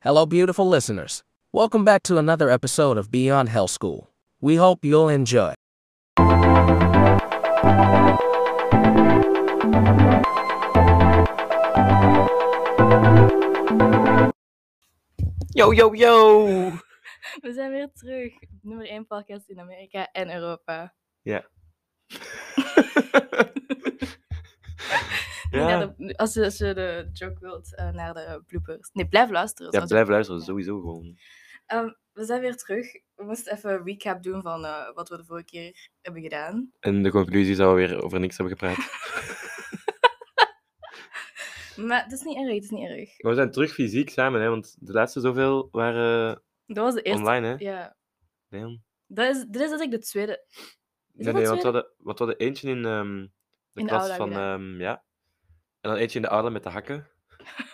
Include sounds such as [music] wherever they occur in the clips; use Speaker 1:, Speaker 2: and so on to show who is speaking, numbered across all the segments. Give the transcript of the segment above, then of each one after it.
Speaker 1: Hello, beautiful listeners. Welcome back to another episode of Beyond Hell School. We hope you'll enjoy.
Speaker 2: Yo, yo, yo!
Speaker 3: We zijn weer terug. Nummer 1 podcast in Amerika en Europa. [laughs] Naar
Speaker 2: ja,
Speaker 3: de- als, je, als je de joke wilt, eh, naar de bloopers. Nee, blijf luisteren.
Speaker 2: ja,
Speaker 3: trouwens.
Speaker 2: blijf luisteren,
Speaker 3: Ja.
Speaker 2: sowieso gewoon.
Speaker 3: Ehm, we zijn weer terug. We moesten even een recap doen van eh, wat we de vorige keer hebben gedaan.
Speaker 2: En de conclusie is dat we weer over niks
Speaker 3: [laughs]
Speaker 2: hebben gepraat.
Speaker 3: Maar het is niet erg, het is niet erg.
Speaker 2: Maar we zijn terug fysiek samen, hè, want de laatste zoveel waren
Speaker 3: Dat was de eerste.
Speaker 2: online, hè?
Speaker 3: Ja.
Speaker 2: Nee, man.
Speaker 3: Dat is, dit is ik de tweede. Is
Speaker 2: nee,
Speaker 3: dat
Speaker 2: nee,
Speaker 3: de
Speaker 2: want we
Speaker 3: tweede?
Speaker 2: hadden, want we hadden eentje in ehm, de
Speaker 3: In de
Speaker 2: klas
Speaker 3: aula
Speaker 2: van...
Speaker 3: gedaan.
Speaker 2: ehm, ja. En dan eentje in de aula met de
Speaker 3: [laughs]
Speaker 2: hakken.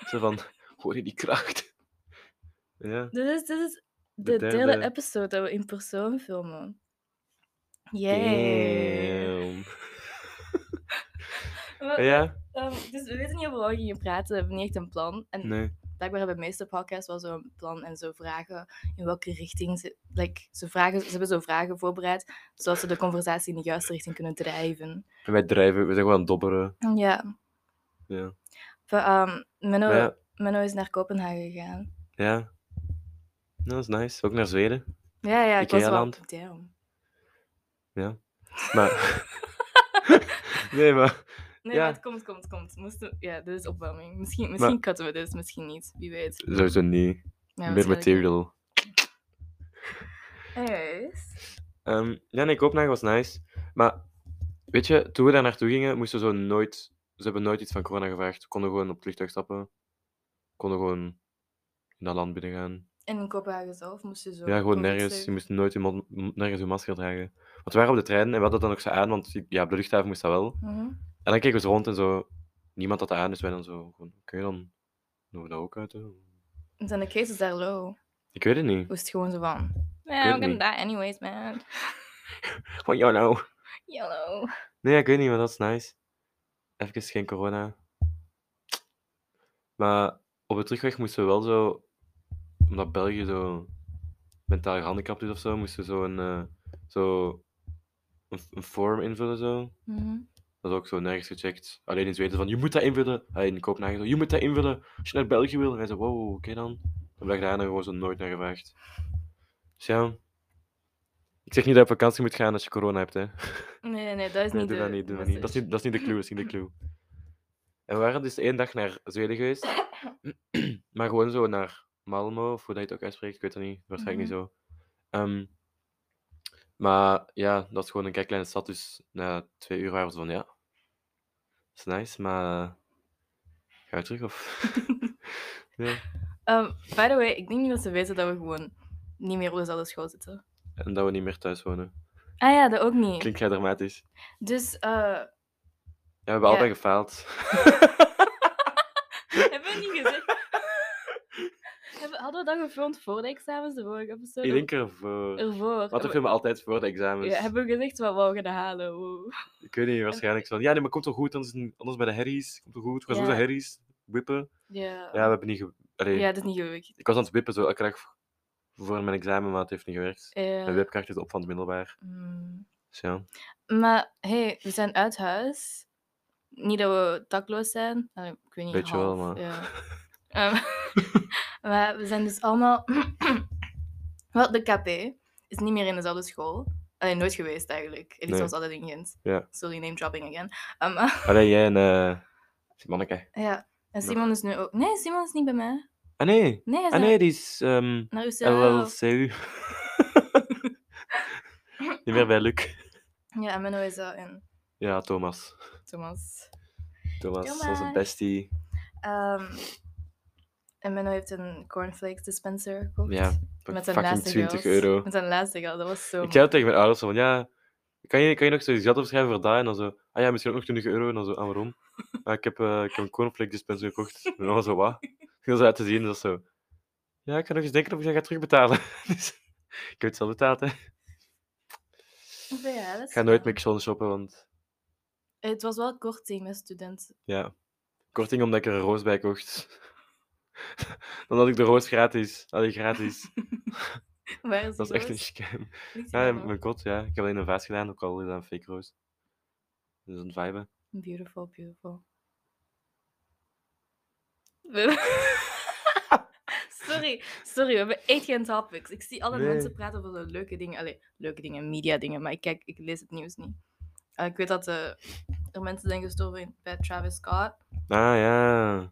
Speaker 2: Zo van, hoor je die kracht? [laughs] ja.
Speaker 3: Dit is, dit is de,
Speaker 2: De
Speaker 3: derde.
Speaker 2: derde.
Speaker 3: episode dat we in persoon filmen. Yay!
Speaker 2: Damn.
Speaker 3: We-
Speaker 2: Ja?
Speaker 3: ehm, dus we weten niet over wat we gingen praten, we hebben niet echt een plan. En
Speaker 2: Nee.
Speaker 3: blijkbaar hebben de meeste podcasts wel zo'n plan en zo vragen in welke richting ze. Like, ze, vragen, ze hebben zo vragen voorbereid, zodat ze de conversatie in de juiste richting kunnen drijven.
Speaker 2: En wij drijven, we zijn gewoon aan het dobberen.
Speaker 3: Ja.
Speaker 2: Ja.
Speaker 3: We, ehm, Menno,
Speaker 2: Maar ja,
Speaker 3: Menno is naar Kopenhagen gegaan.
Speaker 2: ja. Nou, dat is nice. Ook naar Zweden.
Speaker 3: Ja, ja, ik was wel...
Speaker 2: Ikea-land.
Speaker 3: Damn.
Speaker 2: [laughs] Maar. nee, maar.
Speaker 3: Nee,
Speaker 2: Ja.
Speaker 3: maar het komt, het komt, het komt. Moesten... Ja, dit is opwarming. Misschien, misschien cutten we dit, misschien niet. Wie weet. Ja,
Speaker 2: Sowieso niet. Meer
Speaker 3: waarschijnlijk niet.
Speaker 2: material.
Speaker 3: Anyways.
Speaker 2: Ehm, ja, nee, Kopenhagen was nice. Maar weet je, toen we daar naartoe gingen, moesten we zo nooit. Ze hebben nooit iets van corona gevraagd. We konden gewoon op het vliegtuig stappen. Konden gewoon naar land binnen gaan.
Speaker 3: En in Kopenhagen zelf moest je zo...
Speaker 2: Ja, gewoon
Speaker 3: covid
Speaker 2: nergens. Je
Speaker 3: safe-
Speaker 2: moest nooit je, mon- m- nergens je masker dragen. Want we waren op de trein en we hadden dat dan ook zo aan, want je- ja, op de luchthaven moest dat wel.
Speaker 3: Mhm.
Speaker 2: En dan keken we zo rond en zo. Niemand had dat aan, dus wij dan zo. Gewoon, Oké, dan doen we dat ook uit. hè."
Speaker 3: En Zijn de cases daar low?
Speaker 2: Ik weet het niet.
Speaker 3: was het gewoon zo van...
Speaker 2: weet
Speaker 3: Man, I'm
Speaker 2: het
Speaker 3: gonna
Speaker 2: niet.
Speaker 3: die anyways, man.
Speaker 2: Van jou nou.
Speaker 3: Yellow.
Speaker 2: Nee, ik weet niet, maar dat is nice. Even geen corona. Maar op de terugweg moesten we wel zo, omdat België zo mentaal gehandicapt is of zo, moesten we zo een, eh, zo een, f- een form invullen. Zo.
Speaker 3: Mhm.
Speaker 2: Dat is ook zo nergens gecheckt. Alleen in Zweden van, je moet dat invullen. Alleen in Kopenhagen zo, je moet dat invullen als je naar België wil. En hij zei, wow, oké dan. Dan werd daar dan gewoon zo nooit naar gevraagd. Dus ja, ik zeg niet dat je op vakantie moet gaan als je corona hebt, hè.
Speaker 3: Nee, nee, dat is
Speaker 2: Nee,
Speaker 3: niet
Speaker 2: doe
Speaker 3: de
Speaker 2: dat niet, doe dat niet. Dat is niet, dat is niet de clue, dat is niet de clue. En we waren dus één dag naar
Speaker 3: [coughs]
Speaker 2: Zweden geweest. maar gewoon zo naar Malmo, of hoe dat je het ook uitspreekt, ik weet het niet. Waarschijnlijk
Speaker 3: Mhm.
Speaker 2: niet zo. Ehm, maar ja, dat is gewoon een kei kleine stad, dus na twee uur waren we zo van, ja, dat is nice, maar eh, gaan we terug of...
Speaker 3: [laughs]
Speaker 2: ja.
Speaker 3: Ehm, by the way, ik denk niet dat ze weten dat we gewoon niet meer op dezelfde school zitten.
Speaker 2: En dat we niet meer thuis wonen.
Speaker 3: Ah ja, dat ook niet.
Speaker 2: Klinkt gij dramatisch.
Speaker 3: Dus, eh [laughs]
Speaker 2: Ja, we hebben
Speaker 3: Ja.
Speaker 2: allebei gefaald.
Speaker 3: hebben we niet gezegd... Hebben- Hadden we dat gefilmd voor de examens, de vorige episode?
Speaker 2: Ik denk ervoor.
Speaker 3: Ervoor.
Speaker 2: Wat
Speaker 3: Hebben-
Speaker 2: filmen altijd voor de examens.
Speaker 3: ja, hebben we gezegd wat we gaan halen? Wow.
Speaker 2: Ik weet niet, waarschijnlijk zo. Ja, nee, maar komt toch goed, anders, anders bij de herries. Komt toch goed, we gaan zo
Speaker 3: Ja.
Speaker 2: de herries whippen.
Speaker 3: Ja.
Speaker 2: Ja, we hebben niet... Ge... Allee,
Speaker 3: ja, dat is niet gelukt.
Speaker 2: Ik was aan het whippen zo elke dag voor mijn examen, maar het heeft niet gewerkt.
Speaker 3: Ja.
Speaker 2: Mijn whipkracht is op van het middelbaar.
Speaker 3: Eh, Mm.
Speaker 2: Dus ja.
Speaker 3: Maar hey, we zijn uit huis. Niet dat we dakloos zijn. eh, Ik weet niet.
Speaker 2: Weet je wel,
Speaker 3: half,
Speaker 2: maar-
Speaker 3: ja. Ehm, [laughs] maar we zijn dus allemaal. [clears throat] wel, de KP is niet meer in dezelfde school. Allee, nooit geweest eigenlijk. Elisa
Speaker 2: Nee.
Speaker 3: was altijd in Gent.
Speaker 2: Ja.
Speaker 3: Sorry, name dropping again. Ehm, [laughs] maar
Speaker 2: Allee, jij en... eh Simonneke.
Speaker 3: ja. En
Speaker 2: Nog.
Speaker 3: Simon is nu ook. Nee, Simon is niet bij mij.
Speaker 2: Ah nee!
Speaker 3: Nee, hij is
Speaker 2: Ah
Speaker 3: naar-
Speaker 2: nee, die is... ehm
Speaker 3: naar UCL.
Speaker 2: LLCU. [laughs] niet meer bij Luc.
Speaker 3: Ja, en Menno is daar en
Speaker 2: Ja, Thomas.
Speaker 3: Thomas.
Speaker 2: Thomas, onze
Speaker 3: Thomas.
Speaker 2: bestie.
Speaker 3: Ehm, en Menno heeft een cornflakes dispenser gekocht.
Speaker 2: Ja,
Speaker 3: Met zijn
Speaker 2: fucking
Speaker 3: laatste
Speaker 2: 20
Speaker 3: geld.
Speaker 2: euro.
Speaker 3: Met zijn laatste geld, dat was zo.
Speaker 2: Ik zei dat tegen mijn ouders, zo van ja, kan je, kan je nog zoiets geld opschrijven voor dat? En dan zo, ah ja, misschien ook nog 20 euro. En dan zo, ah waarom? Ah, ik, heb, eh, ik heb een cornflake dispenser gekocht. En dan was zo, wat? [laughs] Heel zo uit te zien, dus dat zo. Ja, ik ga nog eens denken of ik dat ga terugbetalen. [laughs] dus, ik heb het zelf betaald, hè. Ik
Speaker 3: moeilijk. Ja, dat is
Speaker 2: ga nooit
Speaker 3: waar.
Speaker 2: McDonald's shoppen, want [laughs]
Speaker 3: Het was wel korting met studenten.
Speaker 2: ja. Korting omdat ik er een roos bij kocht. [laughs] Dan had ik de roos gratis. Allee, gratis.
Speaker 3: Waar is
Speaker 2: Dat is
Speaker 3: die
Speaker 2: echt een
Speaker 3: roos?
Speaker 2: scam.
Speaker 3: Ligt
Speaker 2: Ah,
Speaker 3: die
Speaker 2: Ja,
Speaker 3: daar
Speaker 2: mijn kot, ja. Ik heb alleen een vaas gedaan, ook al is dat een fake roos. Dus een vibe.
Speaker 3: nog? Beautiful,
Speaker 2: [laughs]
Speaker 3: beautiful. sorry, sorry, we hebben echt geen topics. Ik zie alle
Speaker 2: Nee.
Speaker 3: mensen praten over zo leuke dingen. Allee, leuke dingen, media dingen, maar ik, kijk, ik lees het nieuws niet. Eh, ik weet dat eh, er mensen zijn gestorven in- bij Travis Scott.
Speaker 2: Ah ja. Dat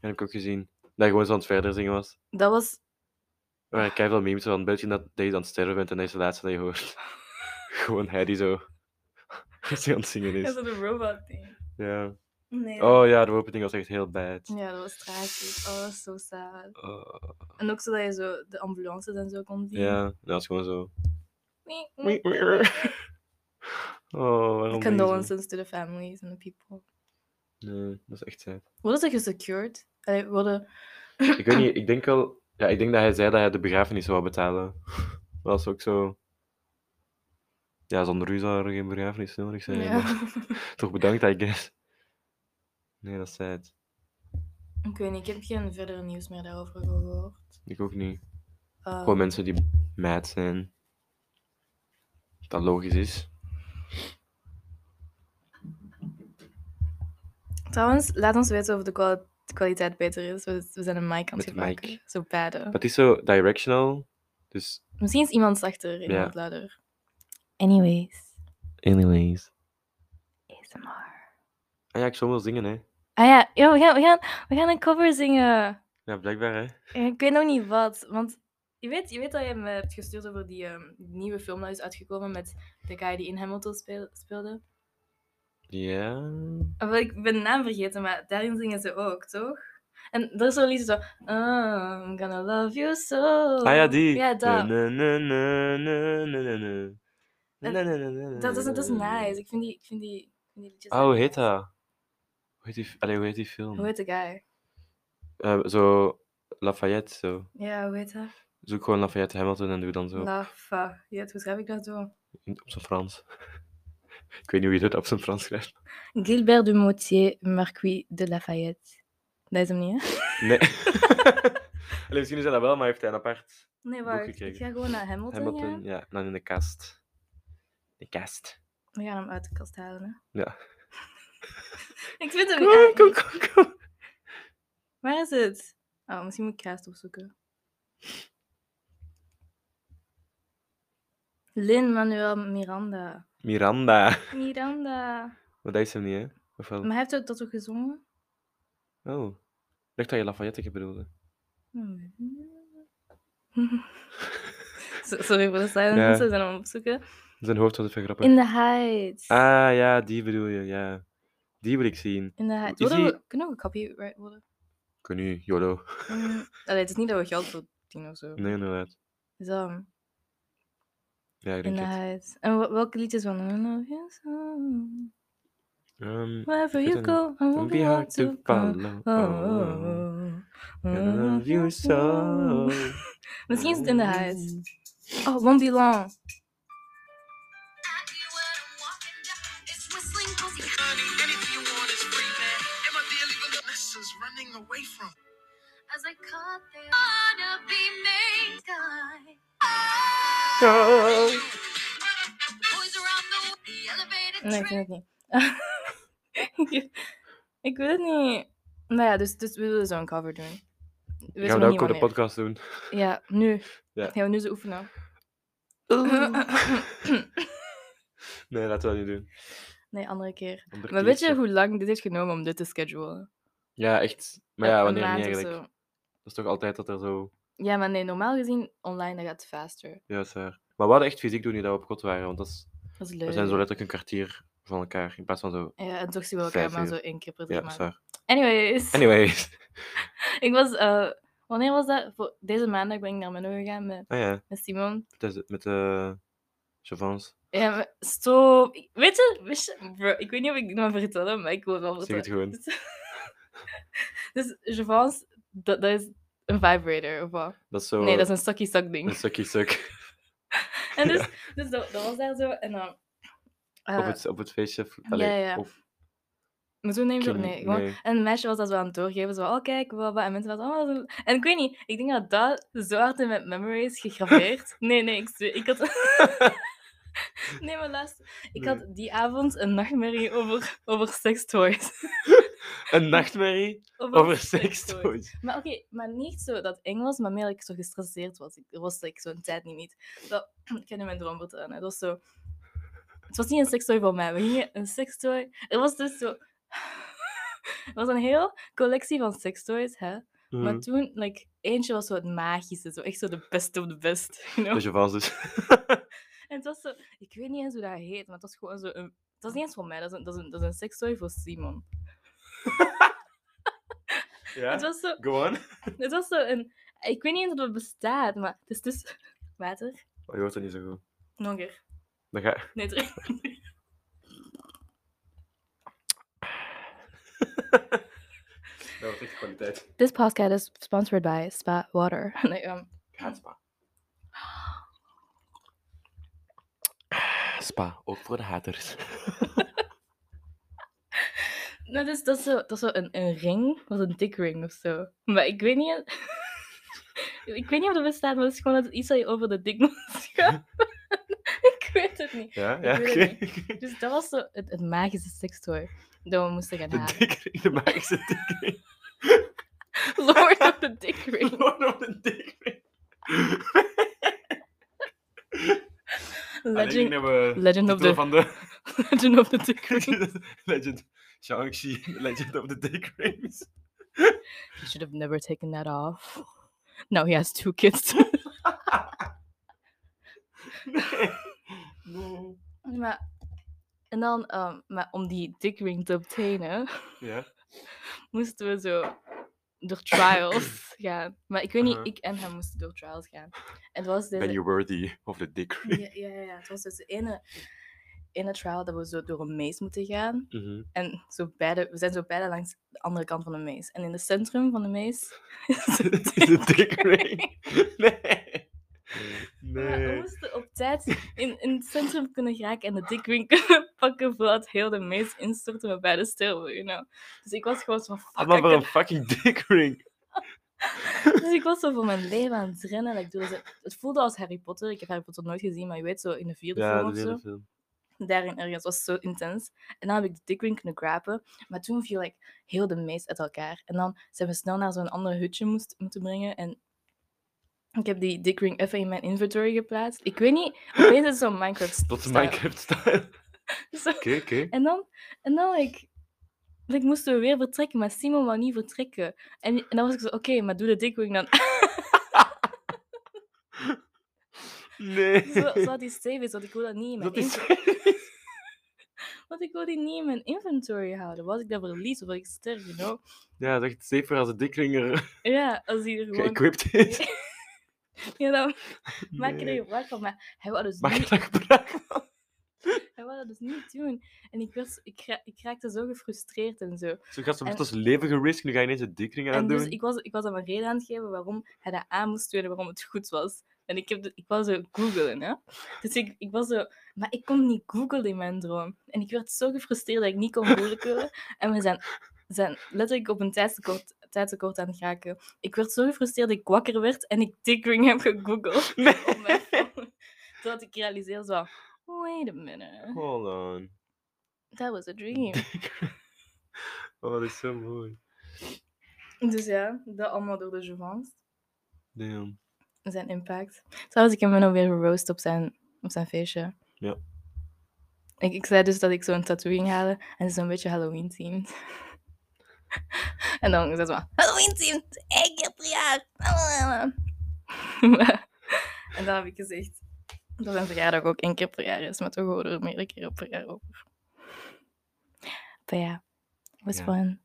Speaker 2: heb ik ook gezien. Dat je gewoon zo aan het verder zingen was.
Speaker 3: Dat was
Speaker 2: Waar ik veel memes van, beeld je dat, dat je aan het sterven bent en dat is de laatste dat je hoort. [laughs] gewoon hij die zo... [laughs] Als hij aan het zingen
Speaker 3: dat
Speaker 2: is.
Speaker 3: is een robot ding.
Speaker 2: Ja.
Speaker 3: Nee.
Speaker 2: Oh ja, de opening was echt heel bad.
Speaker 3: Ja, dat was tragisch. Oh, dat is zo sad.
Speaker 2: Oh,
Speaker 3: En ook zodat je zo de ambulances en zo kon zien.
Speaker 2: ja, dat was gewoon zo... [laughs]
Speaker 3: Nee, nee.
Speaker 2: Oh, waarom deze?
Speaker 3: Condolences to the families and the people.
Speaker 2: Nee, dat is echt sad.
Speaker 3: Worden ze gesecured? Allee, worden...
Speaker 2: Ik weet niet, ik denk wel... Ja, ik denk dat hij zei dat hij de begrafenis zou betalen. [laughs] Maar dat is ook zo... Ja, zonder u zou er geen begrafenis nodig zijn. maar
Speaker 3: Ja.
Speaker 2: Toch bedankt, I guess. Nee, dat is sad.
Speaker 3: [laughs] ik weet niet, ik heb geen verdere nieuws meer daarover gehoord.
Speaker 2: Ik ook niet.
Speaker 3: Eh,
Speaker 2: Gewoon mensen die mad zijn. Dat logisch is.
Speaker 3: trouwens, laat ons weten of de kwa- de kwaliteit beter is. We, we zijn een mic aan het
Speaker 2: Met de mic.
Speaker 3: gebruiken. Zo bad. hè.
Speaker 2: Maar het is zo directional. Dus,
Speaker 3: Misschien is iemand zachter, iemand
Speaker 2: Ja.
Speaker 3: luider. Anyways,
Speaker 2: anyways.
Speaker 3: ASMR.
Speaker 2: Ah ja, ik zou wel zingen, hè.
Speaker 3: Ah ja, yo, we, gaan, we, gaan, we gaan een cover zingen.
Speaker 2: Ja, blijkbaar, hè.
Speaker 3: Ja, Ik weet nog niet wat, want je weet, je weet dat je me hebt gestuurd over die ehm, nieuwe film dat is uitgekomen met de guy die in Hamilton speel- speelde.
Speaker 2: Ja.
Speaker 3: Ah, wel, Ik ben de naam vergeten, maar daarin zingen ze ook, toch? En er is zo'n liedje zo... "Oh, I'm gonna love you so...
Speaker 2: Ah ja, die.
Speaker 3: Oh. Ja, dat.
Speaker 2: Na, na, na, na, na, na, na. Na,
Speaker 3: En
Speaker 2: na, na, na, na,
Speaker 3: Dat is, dat is
Speaker 2: na, na, na.
Speaker 3: nice. Ik vind die, ik vind die, ik vind die liedjes...
Speaker 2: Oh,
Speaker 3: echt
Speaker 2: hoe heet
Speaker 3: nice.
Speaker 2: dat? Hoe heet die, f- allee, hoe heet die film?
Speaker 3: Hoe heet de guy?
Speaker 2: Eh, zo, Lafayette, zo.
Speaker 3: Ja, hoe heet dat?
Speaker 2: Zoek gewoon Lafayette Hamilton en doe dan zo.
Speaker 3: La Fa... Ja, hoe schrijf ik dat zo?
Speaker 2: in- op zijn Frans. [laughs] ik weet niet hoe je dat op zijn Frans schrijft.
Speaker 3: Gilbert de Motier, Marquis de Lafayette. Dat is hem niet, hè? [laughs]
Speaker 2: Nee. allee, misschien is hij dat wel, maar heeft hij een apart
Speaker 3: Nee,
Speaker 2: Boek
Speaker 3: wacht. Ik
Speaker 2: gekregen.
Speaker 3: ga gewoon naar Hamilton, gaan.
Speaker 2: Hamilton? Ja, en dan in de kast. De kast.
Speaker 3: We gaan hem uit de kast halen. Hè?
Speaker 2: Ja.
Speaker 3: ik vind hem.
Speaker 2: Kom,
Speaker 3: Oh, ja,
Speaker 2: kom,
Speaker 3: ik-
Speaker 2: kom, kom.
Speaker 3: Waar is het? Oh, misschien moet ik kaas opzoeken. Lin Manuel Miranda.
Speaker 2: Miranda.
Speaker 3: Miranda.
Speaker 2: Maar dat is hem niet, hè? Of wel?
Speaker 3: Maar hij heeft ook dat ook gezongen? [laughs]
Speaker 2: Oh. Ik dacht dat je Lafayette bedoelde.
Speaker 3: Hmm. So- Sorry voor de
Speaker 2: Ja.
Speaker 3: silence, we zijn hem opzoeken.
Speaker 2: Zijn hoofd was even grappig.
Speaker 3: In the Heights.
Speaker 2: Ah, ja, die bedoel je, ja. Die wil ik zien.
Speaker 3: In the Heights.
Speaker 2: is
Speaker 3: Worden we-
Speaker 2: die-
Speaker 3: Kunnen we copyright worden?
Speaker 2: Kun nu, YOLO.
Speaker 3: Mm, Allee, het is niet dat we geld verdienen of zo.
Speaker 2: Nee, inderdaad.
Speaker 3: Is dat hem?
Speaker 2: Ja, ik
Speaker 3: In
Speaker 2: denk
Speaker 3: the
Speaker 2: het.
Speaker 3: Heights. En wel- welke liedjes van I love you so.
Speaker 2: Ehm,
Speaker 3: Wherever
Speaker 2: Ik
Speaker 3: you
Speaker 2: weet dat
Speaker 3: go, I won't
Speaker 2: don't be hard to
Speaker 3: follow.
Speaker 2: follow.
Speaker 3: Oh,
Speaker 2: Oh, I love you so.
Speaker 3: oh. Misschien is het in de huis. Oh, won't be long.
Speaker 4: Honey, anything you want is free, man. And my dear, leave a lessons running away from.
Speaker 5: as I caught the wanna be main guy.
Speaker 2: Oh.
Speaker 5: Boys around the, the elevated
Speaker 3: Nee, ik
Speaker 5: train.
Speaker 3: weet het niet. [laughs] ik weet het niet. Nou ja, dus, dus we willen zo'n cover doen. We weten
Speaker 2: Gaan we
Speaker 3: nog
Speaker 2: dat
Speaker 3: niet
Speaker 2: ook op de
Speaker 3: wanneer. [laughs]
Speaker 2: podcast doen?
Speaker 3: Ja, nu.
Speaker 2: Ja.
Speaker 3: Gaan we nu ze
Speaker 2: [laughs]
Speaker 3: oefenen.
Speaker 2: Nee, laten we dat niet doen.
Speaker 3: nee, andere keer.
Speaker 2: Andere
Speaker 3: Maar
Speaker 2: keer
Speaker 3: weet je
Speaker 2: zo.
Speaker 3: hoe lang dit heeft genomen om dit te schedulen?
Speaker 2: Ja, echt. Maar ja,
Speaker 3: Een
Speaker 2: wanneer
Speaker 3: maand
Speaker 2: niet
Speaker 3: of
Speaker 2: eigenlijk?
Speaker 3: zo.
Speaker 2: Dat is toch altijd dat er zo...
Speaker 3: Ja, maar nee, normaal gezien online dat gaat het faster.
Speaker 2: Ja, dat is waar. Maar we hadden echt fysiek doen nu dat we op kot waren, want dat is...
Speaker 3: Dat is leuk.
Speaker 2: we zijn zo letterlijk een kwartier van elkaar, in plaats van zo...
Speaker 3: Ja, en toch zien we elkaar
Speaker 2: Vijf
Speaker 3: maar
Speaker 2: uur.
Speaker 3: zo één keer per drie
Speaker 2: Ja, dat is
Speaker 3: maanden.
Speaker 2: waar.
Speaker 3: Anyways,
Speaker 2: Anyways.
Speaker 3: [laughs] ik was, eh, wanneer was dat? Voor deze maandag ben ik naar Menno gegaan met,
Speaker 2: Ah ja,
Speaker 3: met Simon.
Speaker 2: het is met de... Chavans.
Speaker 3: Ja, maar stop. Ik- Weet je, wist je- bro, ik weet niet of ik dit mag vertellen, maar ik wil het wel
Speaker 2: Zeg
Speaker 3: vertellen.
Speaker 2: het gewoon.
Speaker 3: [laughs] Dus Javans, dat, dat is een vibrator of wat?
Speaker 2: Dat is zo...
Speaker 3: Nee, dat is een sucky suck ding.
Speaker 2: Een [laughs]
Speaker 3: [laughs]
Speaker 2: stukje stuk.
Speaker 3: En dus, dus dat, dat was daar zo en dan. eh,
Speaker 2: op, het, op het feestje. of-
Speaker 3: ja,
Speaker 2: allee,
Speaker 3: ja.
Speaker 2: Op,
Speaker 3: Maar toen neem ik
Speaker 2: Ken-
Speaker 3: nee. Gewoon, [laughs] En een meisje was dat zo aan het doorgeven. Zo, oh kijk, blah, blah. En mensen waren zo, oh, dat is een- En ik weet niet, ik denk dat dat zo hard in mijn memory is
Speaker 2: [laughs]
Speaker 3: gegraveerd. nee, nee, ik zweer. Ik had... nee, maar luister. Ik
Speaker 2: Nee.
Speaker 3: had die avond een nachtmerrie over, over sekstoys.
Speaker 2: Een nachtmerrie over sekstoys.
Speaker 3: Maar oké, maar niet zo dat eng was, maar meer dat ik zo gestresseerd was. Ik er was ik zo'n tijd niet niet. Dat, [clears throat] ik kan nu mijn droom vertellen. Het was zo... Het was niet een sekstoy voor mij. We gingen een sekstoy... Er was dus zo... [laughs] Er was een heel collectie van sekstoys, hè. Maar
Speaker 2: Mhm.
Speaker 3: toen, like, eentje was zo het magische. Zo echt zo de beste op de best, [laughs] you know?
Speaker 2: Dat je vast is.
Speaker 3: En het was zo... Ik weet niet eens hoe dat heet, maar het was gewoon zo... Een, het was niet eens voor mij. Dat is een, dat is een, dat is een sekstoy voor Simon. [laughs] Het
Speaker 2: Ja?
Speaker 3: was zo...
Speaker 2: Go on.
Speaker 3: Het was zo een... Ik weet niet eens of dat bestaat, maar het is dus... [laughs] Water.
Speaker 2: Oh, je hoort dat niet zo goed.
Speaker 3: Nog een keer.
Speaker 2: Dan ga...
Speaker 3: Nee, terug.
Speaker 2: Dat wordt echt kwaliteit.
Speaker 3: [laughs] This podcast is sponsored by Spa Water. [laughs] Nee, ehm,
Speaker 2: Gaat spa. Spa, ook voor de haters.
Speaker 3: nou, dus, dat is zo, dat is zo een, een ring. Dat is een dick ring of zo. Maar ik weet niet... [laughs] ik weet niet of dat bestaat, maar het is gewoon dat iets dat je over de dik moet [laughs] schuiven. ik weet het niet.
Speaker 2: Ja,
Speaker 3: Ik
Speaker 2: ja,
Speaker 3: weet
Speaker 2: oké.
Speaker 3: het Dus dat was zo het, het magische sekstoy dat we moesten gaan
Speaker 2: [laughs] De
Speaker 3: halen.
Speaker 2: dikke, de magische
Speaker 3: [laughs]
Speaker 2: dikke.
Speaker 3: Lord of the Dick Ring.
Speaker 2: Gewoon op de dikke. [laughs] Alleen
Speaker 3: Legend,
Speaker 2: hebben we
Speaker 3: Legend of
Speaker 2: titel
Speaker 3: the,
Speaker 2: van de
Speaker 3: [laughs]
Speaker 2: [laughs]
Speaker 3: Legend of the Dick Ring.
Speaker 2: Legend Shang-Chi, Legend of the Dick Rings.
Speaker 3: He should have never taken that off. Now he has two kids. [laughs]
Speaker 2: Nee. Nee.
Speaker 3: maar, en dan, ehm, maar om die dick ring te obtainen,
Speaker 2: [laughs]
Speaker 3: [laughs]
Speaker 2: Ja.
Speaker 3: moesten we zo door
Speaker 2: [coughs]
Speaker 3: trials gaan. Maar ik weet niet,
Speaker 2: Aha.
Speaker 3: ik en hij moesten door trials gaan. En het was deze...
Speaker 2: Uh-huh. Ben you worthy of the Dick Ring?
Speaker 3: Ja, ja, ja, ja, het was dus de ene, ene trial dat we zo door een maze moeten gaan.
Speaker 2: Mhm. [laughs]
Speaker 3: En zo beide, we zijn zo beide langs de andere kant van de maze. En in het centrum van de maze [laughs] is een
Speaker 2: Dit [laughs] is een
Speaker 3: dick
Speaker 2: dick ring. Nee.
Speaker 3: Maar we
Speaker 2: Nee.
Speaker 3: moesten op tijd in, in het centrum kunnen geraken en de dick ring kunnen [laughs] pakken voordat heel de maze instortte met beide stil, you know. Dus ik was gewoon zo van, fuck,
Speaker 2: Ah, Maar
Speaker 3: ik
Speaker 2: voor
Speaker 3: kan-
Speaker 2: een fucking [laughs] dick ring.
Speaker 3: Dus ik was zo voor mijn leven aan het rennen. en ik doe dat- het voelde als Harry Potter. Ik heb Harry Potter nooit gezien, maar je weet zo in de vierde film of zo.
Speaker 2: film.
Speaker 3: daarin ergens was zo intens. En dan heb ik de dick ring kunnen grapen. Maar toen viel like, heel de meest uit elkaar. En dan zijn we snel naar zo'n ander hutje moest, moeten brengen. En ik heb die dick ring even in mijn inventory geplaatst. Ik weet niet, opeens is het zo'n Minecraft
Speaker 2: Tot
Speaker 3: style.
Speaker 2: Minecraft-style.
Speaker 3: [laughs] Zo.
Speaker 2: [laughs] Oké, oké.
Speaker 3: En dan, en dan like, like, moesten we weer vertrekken. Maar Simon wou niet vertrekken. En, en dan was ik zo, oké, maar doe de dick ring dan. [laughs]
Speaker 2: Nee.
Speaker 3: zo,
Speaker 2: [laughs]
Speaker 3: zodat die safe is, want ik wil dat niet in mijn
Speaker 2: Dat is...
Speaker 3: inventory- Want ik wil die niet in mijn inventory houden. Was ik dat verlies of was ik sterf, you know?
Speaker 2: Ja, dat is safer als de dick ring er
Speaker 3: Ja, als die er gewoon
Speaker 2: geëquipt is.
Speaker 3: Ja, dan [laughs] maak je er
Speaker 2: Nee.
Speaker 3: gebruik van. Maar hij wou, dus
Speaker 2: Mag ik
Speaker 3: niet,
Speaker 2: dat gebruiken?
Speaker 3: hij wou dat dus niet doen. En ik, werd, ik, ra- ik raakte zo gefrustreerd en zo.
Speaker 2: Zo gaat ze
Speaker 3: En-
Speaker 2: met ons leven gerisk, nu ga je ineens een dick ring aan
Speaker 3: en
Speaker 2: doen.
Speaker 3: dus ik was, ik was hem een reden aan het geven waarom hij dat aan moest doen en waarom het goed was. En ik, heb de- ik wou zo googlen, hè. Dus ik, ik was zo... Maar ik kon niet googlen in mijn droom. En ik werd zo gefrustreerd dat ik niet kon
Speaker 2: [laughs]
Speaker 3: googlen. En we zijn, zijn letterlijk op een tijdstekort, tijdstekort aan het raken. Ik werd zo gefrustreerd dat ik wakker werd en ik Dickring heb gegoogeld.
Speaker 2: [laughs] Nee.
Speaker 3: op mijn phone. Totdat ik realiseer zo... Wait a minute.
Speaker 2: Hold on.
Speaker 3: That was a
Speaker 2: [laughs]
Speaker 3: dream.
Speaker 2: Oh, dat is zo mooi.
Speaker 3: dus ja, dat allemaal door de Jouvence.
Speaker 2: Damn.
Speaker 3: Zijn impact. Trouwens, ik heb hem nog weer geroost op zijn, op zijn feestje.
Speaker 2: Ja.
Speaker 3: Ik, ik zei dus dat ik zo'n tattoo ging halen. En het is een beetje Halloween-themed. [laughs] en dan zei ze maar... Halloween-themed! Ik heb verjaard! Maar- [laughs] en dan heb ik gezegd... Dat zijn verjaardag ook één keer per jaar is. Maar toch horen we er meerdere keren per jaar over. Maar ja. Was
Speaker 2: Ja.
Speaker 3: fun.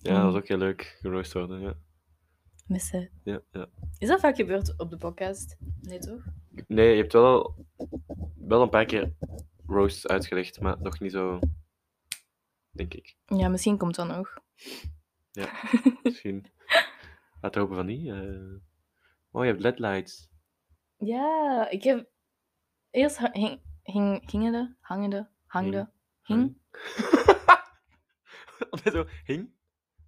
Speaker 2: Ja, dat
Speaker 3: Mm.
Speaker 2: is ook heel leuk. Geroost worden, ja.
Speaker 3: Miss it.
Speaker 2: Ja, ja.
Speaker 3: Is dat vaak gebeurd op de podcast? Nee, toch?
Speaker 2: Nee, je hebt wel, al- wel een paar keer roasts uitgelegd, maar nog niet zo, denk ik.
Speaker 3: Ja, misschien komt dat nog.
Speaker 2: Ja, misschien. Laten we hopen van niet. eh. Oh, je hebt ledlights.
Speaker 3: [laughs] Ja, ik heb... Eerst ha-
Speaker 2: Hmm. [laughs]
Speaker 3: hing, hing, hingende, hangende, hangde, hing.
Speaker 2: Want hij zo hing.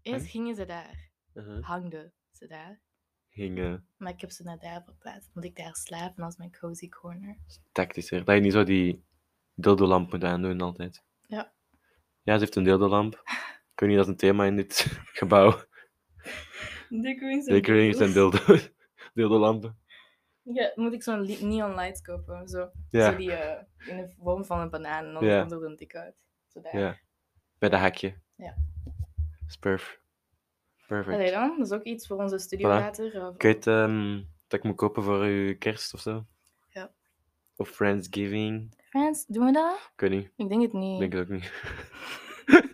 Speaker 3: Eerst
Speaker 2: Hang?
Speaker 3: gingen ze daar.
Speaker 2: Uh-huh. eh.
Speaker 3: Hangden ze daar.
Speaker 2: Hingen.
Speaker 3: Maar ik heb ze naar daar verplaatst. Want ik daar slaap en als mijn cozy corner.
Speaker 2: Tactischer. Dat je niet zo die dildolamp moet aandoen altijd.
Speaker 3: Ja.
Speaker 2: Ja, ze heeft een dildolamp. Ik weet niet, dat is een thema in dit [laughs] gebouw.
Speaker 3: Dick rings en
Speaker 2: Zeker niet zijn
Speaker 3: dildo's.
Speaker 2: [laughs] dildo's. Dildolampen.
Speaker 3: Ja, moet ik zo'n li- neon lights kopen. Zo,
Speaker 2: Ja.
Speaker 3: zo die eh, in de vorm van een banaan en dan
Speaker 2: Ja.
Speaker 3: komt er een dik uit. Zo daar.
Speaker 2: Ja. Bij de hakje.
Speaker 3: Ja.
Speaker 2: Spurf. Perfect.
Speaker 3: Allee dan, dat is ook iets voor onze studio
Speaker 2: Voilà.
Speaker 3: later. eh,
Speaker 2: Ik weet ehm, dat ik moet kopen voor uw kerst of zo.
Speaker 3: Ja.
Speaker 2: Of Friendsgiving.
Speaker 3: Friends, doen we dat?
Speaker 2: Ik weet niet.
Speaker 3: Ik denk het niet.
Speaker 2: Ik denk het ook niet. [laughs]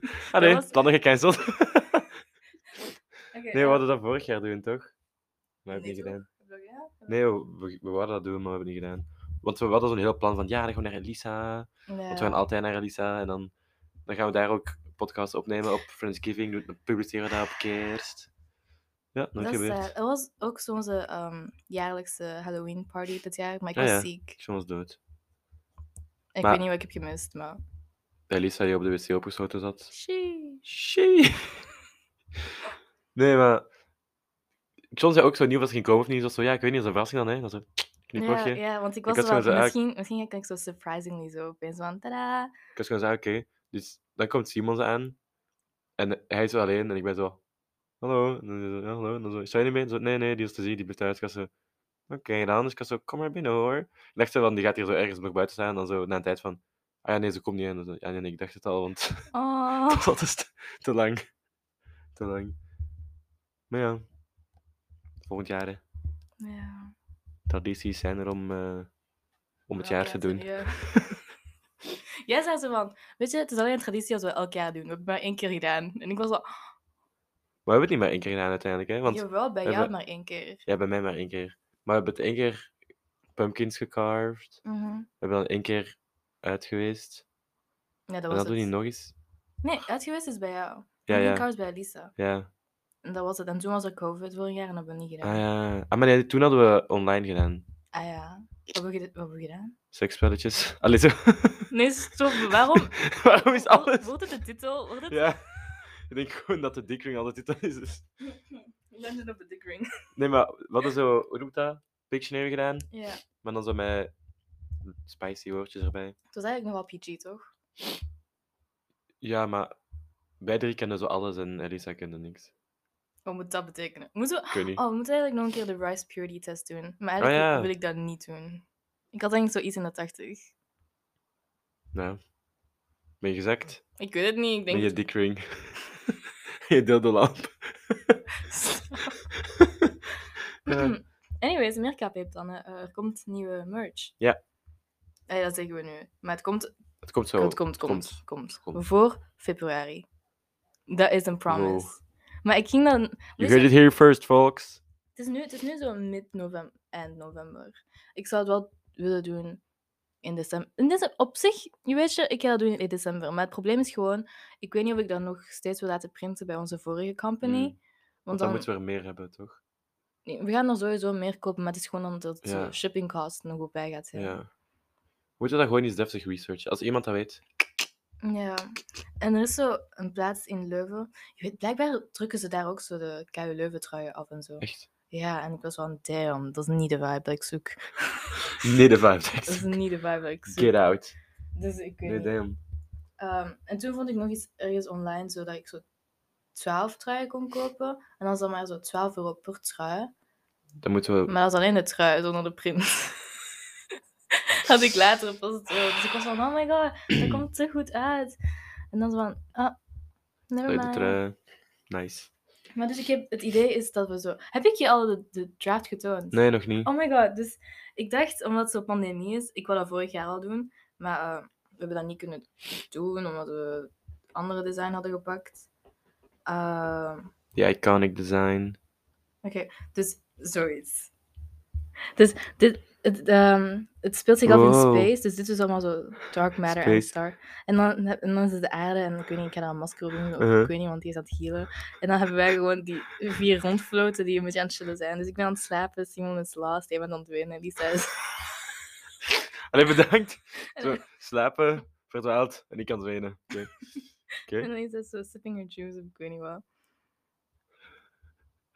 Speaker 2: Ah, Allee,
Speaker 3: was-
Speaker 2: plannen
Speaker 3: [laughs]
Speaker 2: gecanceld.
Speaker 3: Oké,
Speaker 2: nee, we
Speaker 3: eh,
Speaker 2: hadden dat vorig jaar doen, toch? Maar we hebben
Speaker 3: nee,
Speaker 2: niet
Speaker 3: toch?
Speaker 2: gedaan.
Speaker 3: Heb je dat gedaan?
Speaker 2: Nee, we, we- we wouden dat doen, maar we hebben het niet gedaan. Want we hadden zo'n heel plan van, ja, dan gaan we naar Elisa. Want we
Speaker 3: Ja.
Speaker 2: gaan altijd naar Elisa. En dan, dan gaan we daar ook podcasts opnemen op Friendsgiving. doen- Dan publiceren we dat op kerst. Ja, nooit
Speaker 3: Dat is,
Speaker 2: gebeurd.
Speaker 3: eh, er was ook zo'n onze ehm, jaarlijkse Halloween party dit jaar, maar ik
Speaker 2: Ah,
Speaker 3: was
Speaker 2: ja.
Speaker 3: ziek.
Speaker 2: Ik was dood.
Speaker 3: En ik
Speaker 2: Maar-
Speaker 3: weet niet wat ik heb gemist, maar...
Speaker 2: Bij Elisa die op de wc opgesloten zat.
Speaker 3: Sheesh.
Speaker 2: Shee. Nee, maar... John zei ook zo nieuw of ze ging komen of niet. Zo, zo, ja, ik weet niet, dat is een verrassing dan, hè. Dat is een
Speaker 3: Ja,
Speaker 2: knipoogje.
Speaker 3: ja, want ik
Speaker 2: Ik
Speaker 3: was
Speaker 2: had
Speaker 3: wel...
Speaker 2: zo'n zo-
Speaker 3: Misschien, misschien kan ik zo surprisingly zo opeens van... Tada!
Speaker 2: Ik was gewoon zo, ah, oké. Dus dan komt Simon zo aan. En hij is zo alleen. En ik ben zo... Hallo. En dan, zo, ja, hallo. En dan zo, sta je niet mee? En Zo, nee, nee, die is te zien. Die blijft thuis. Ik was zo... Oké, dan. Dus ik was zo, kom maar binnen, hoor. Ik dacht zo van, die gaat hier zo ergens nog buiten staan. En dan zo, na een tijd van... Ah ja, nee, ze komt niet in. En zo, Ja, nee, nee, ik dacht het al, want... [laughs]
Speaker 3: Oh!
Speaker 2: Dat is te, te lang. Te lang. Maar ja. Volgend jaar, hè.
Speaker 3: Ja.
Speaker 2: Tradities zijn er om, eh, om
Speaker 3: Elk
Speaker 2: het jaar te doen. [laughs]
Speaker 3: ja. Jij zei zo van... Weet je, het is alleen een traditie als we elk jaar doen. We hebben het maar één keer gedaan. En ik was al...
Speaker 2: Maar we hebben het niet maar één keer gedaan uiteindelijk, hè. Want
Speaker 3: Jawel, bij
Speaker 2: we
Speaker 3: jou
Speaker 2: hebben-
Speaker 3: maar één keer.
Speaker 2: ja, bij mij maar één keer. Maar we hebben het één keer pumpkins gecarved.
Speaker 3: Mhm.
Speaker 2: We hebben dan één keer uit geweest.
Speaker 3: Ja, dat
Speaker 2: En
Speaker 3: was
Speaker 2: dat doen we
Speaker 3: het.
Speaker 2: niet nog eens.
Speaker 3: Nee, uitgeweest is bij jou.
Speaker 2: Ja,
Speaker 3: Die
Speaker 2: ja.
Speaker 3: kous bij Lisa.
Speaker 2: Ja.
Speaker 3: En dat was het. En toen was er COVID vorig jaar en dat hebben we niet gedaan.
Speaker 2: Ah ja. Ah, maar nee, toen hadden we online gedaan.
Speaker 3: Ah ja. Wat hebben we ged- wat hebben we gedaan?
Speaker 2: Sekspelletjes. [laughs] Allee, zo.
Speaker 3: Nee, stop. Waarom?
Speaker 2: [laughs] Waarom is
Speaker 3: Wo-
Speaker 2: alles?
Speaker 3: Wordt het de titel? Wordt het
Speaker 2: Ja. [laughs] Ik denk gewoon dat de dikring altijd dit is. dus-
Speaker 3: Legend of the Dick [laughs] Ring?
Speaker 2: Nee, maar we hadden zo, hoe noemt dat? Pictionary gedaan,
Speaker 3: Ja.
Speaker 2: maar dan zo met spicy woordjes erbij.
Speaker 3: Het was eigenlijk nog wel PG, toch?
Speaker 2: Ja, maar wij drie kennen zo alles en Elisa kende niks.
Speaker 3: Wat moet dat betekenen? Moeten we...
Speaker 2: Ik weet niet.
Speaker 3: Oh, we moeten eigenlijk nog een keer de rice purity test doen. Maar
Speaker 2: Ah,
Speaker 3: eigenlijk
Speaker 2: ja.
Speaker 3: wil ik dat niet doen. Ik had eigenlijk zoiets in de 80.
Speaker 2: Nou, ben je gezakt?
Speaker 3: Ik weet het niet, ik
Speaker 2: Met je
Speaker 3: denk...
Speaker 2: dikring. [laughs] je deelde
Speaker 3: [laughs]
Speaker 2: lamp. ja.
Speaker 3: [clears throat] Anyways, meer KP-plannen. eh, er komt nieuwe merch.
Speaker 2: Ja.
Speaker 3: Eh, dat zeggen we nu. Maar het komt,
Speaker 2: Het komt zo.
Speaker 3: komt, komt, komt,
Speaker 2: komt,
Speaker 3: komt,
Speaker 2: komt.
Speaker 3: Voor februari. Dat is een promise. Maar ik ging dan...
Speaker 2: You
Speaker 3: weet
Speaker 2: heard
Speaker 3: je,
Speaker 2: it here first, folks.
Speaker 3: Het is nu, het is nu zo mid-november, eind november. Ik zou het wel willen doen in december. In december op zich, je weet je, ik ga dat doen in december. Maar het probleem is gewoon, ik weet niet of ik dat nog steeds wil laten printen bij onze vorige company.
Speaker 2: Mm.
Speaker 3: Want,
Speaker 2: Want dan
Speaker 3: dan,
Speaker 2: moeten we er meer hebben, toch?
Speaker 3: nee, we... gaan er sowieso meer kopen, maar het is gewoon omdat de
Speaker 2: Ja.
Speaker 3: shipping cost nog op bij gaat
Speaker 2: Ja.
Speaker 3: zijn.
Speaker 2: Moeten we dat gewoon eens deftig researchen? Als iemand dat weet.
Speaker 3: Ja. En er is zo een plaats in Leuven. Je weet, blijkbaar drukken ze daar ook zo de KU Leuven truien af en zo.
Speaker 2: Echt.
Speaker 3: Ja, en ik was van, damn, dat is niet de vibe dat ik zoek.
Speaker 2: [laughs] Nee, de vibe.
Speaker 3: dat is
Speaker 2: echt.
Speaker 3: niet de vibe dat ik zoek.
Speaker 2: Get out.
Speaker 3: Dus ik weet
Speaker 2: Nee,
Speaker 3: niet.
Speaker 2: damn.
Speaker 3: Ehm, en toen vond ik nog iets ergens online, zodat ik zo 12 truien kon kopen. En dan is dat maar zo 12 euro per trui.
Speaker 2: Dan moeten we
Speaker 3: Maar dat is alleen de trui, zonder de print. [laughs] Had ik later pas het wel. Dus ik was van, oh my god, dat komt te goed uit. En dan zo van, ah,
Speaker 2: uit
Speaker 3: never
Speaker 2: de
Speaker 3: mind.
Speaker 2: trui. Nice.
Speaker 3: Maar dus ik heb, het idee is dat we zo... Heb ik je al de, de draft getoond?
Speaker 2: Nee, nog niet.
Speaker 3: Oh my god, dus ik dacht, omdat het zo pandemie is, ik wou dat vorig jaar al doen, maar eh, we hebben dat niet kunnen doen, omdat we andere design hadden gepakt. Ehm,
Speaker 2: Die iconic design.
Speaker 3: Oké, dus zoiets. Dus dit, het, ehm, het speelt zich af
Speaker 2: Wow.
Speaker 3: in space, dus dit is allemaal zo dark matter en
Speaker 2: Space.
Speaker 3: star. En dan, heb- en dan is het de aarde, en ik weet niet, ik ga daar een masker op doen, of
Speaker 2: Uh-huh.
Speaker 3: ik weet niet, want die is aan het healen. En dan hebben wij gewoon die vier rondfloten die een beetje aan het chillen zijn. Dus ik ben aan het slapen, Simon is last, jij bent aan het winnen, Lisa is...
Speaker 2: Allee, bedankt.
Speaker 3: En [laughs]
Speaker 2: Zo, slapen, verdwaald en ik kan zwenen. Oké.
Speaker 3: [laughs] En dan is dat zo sipping her juice of ik weet niet wat.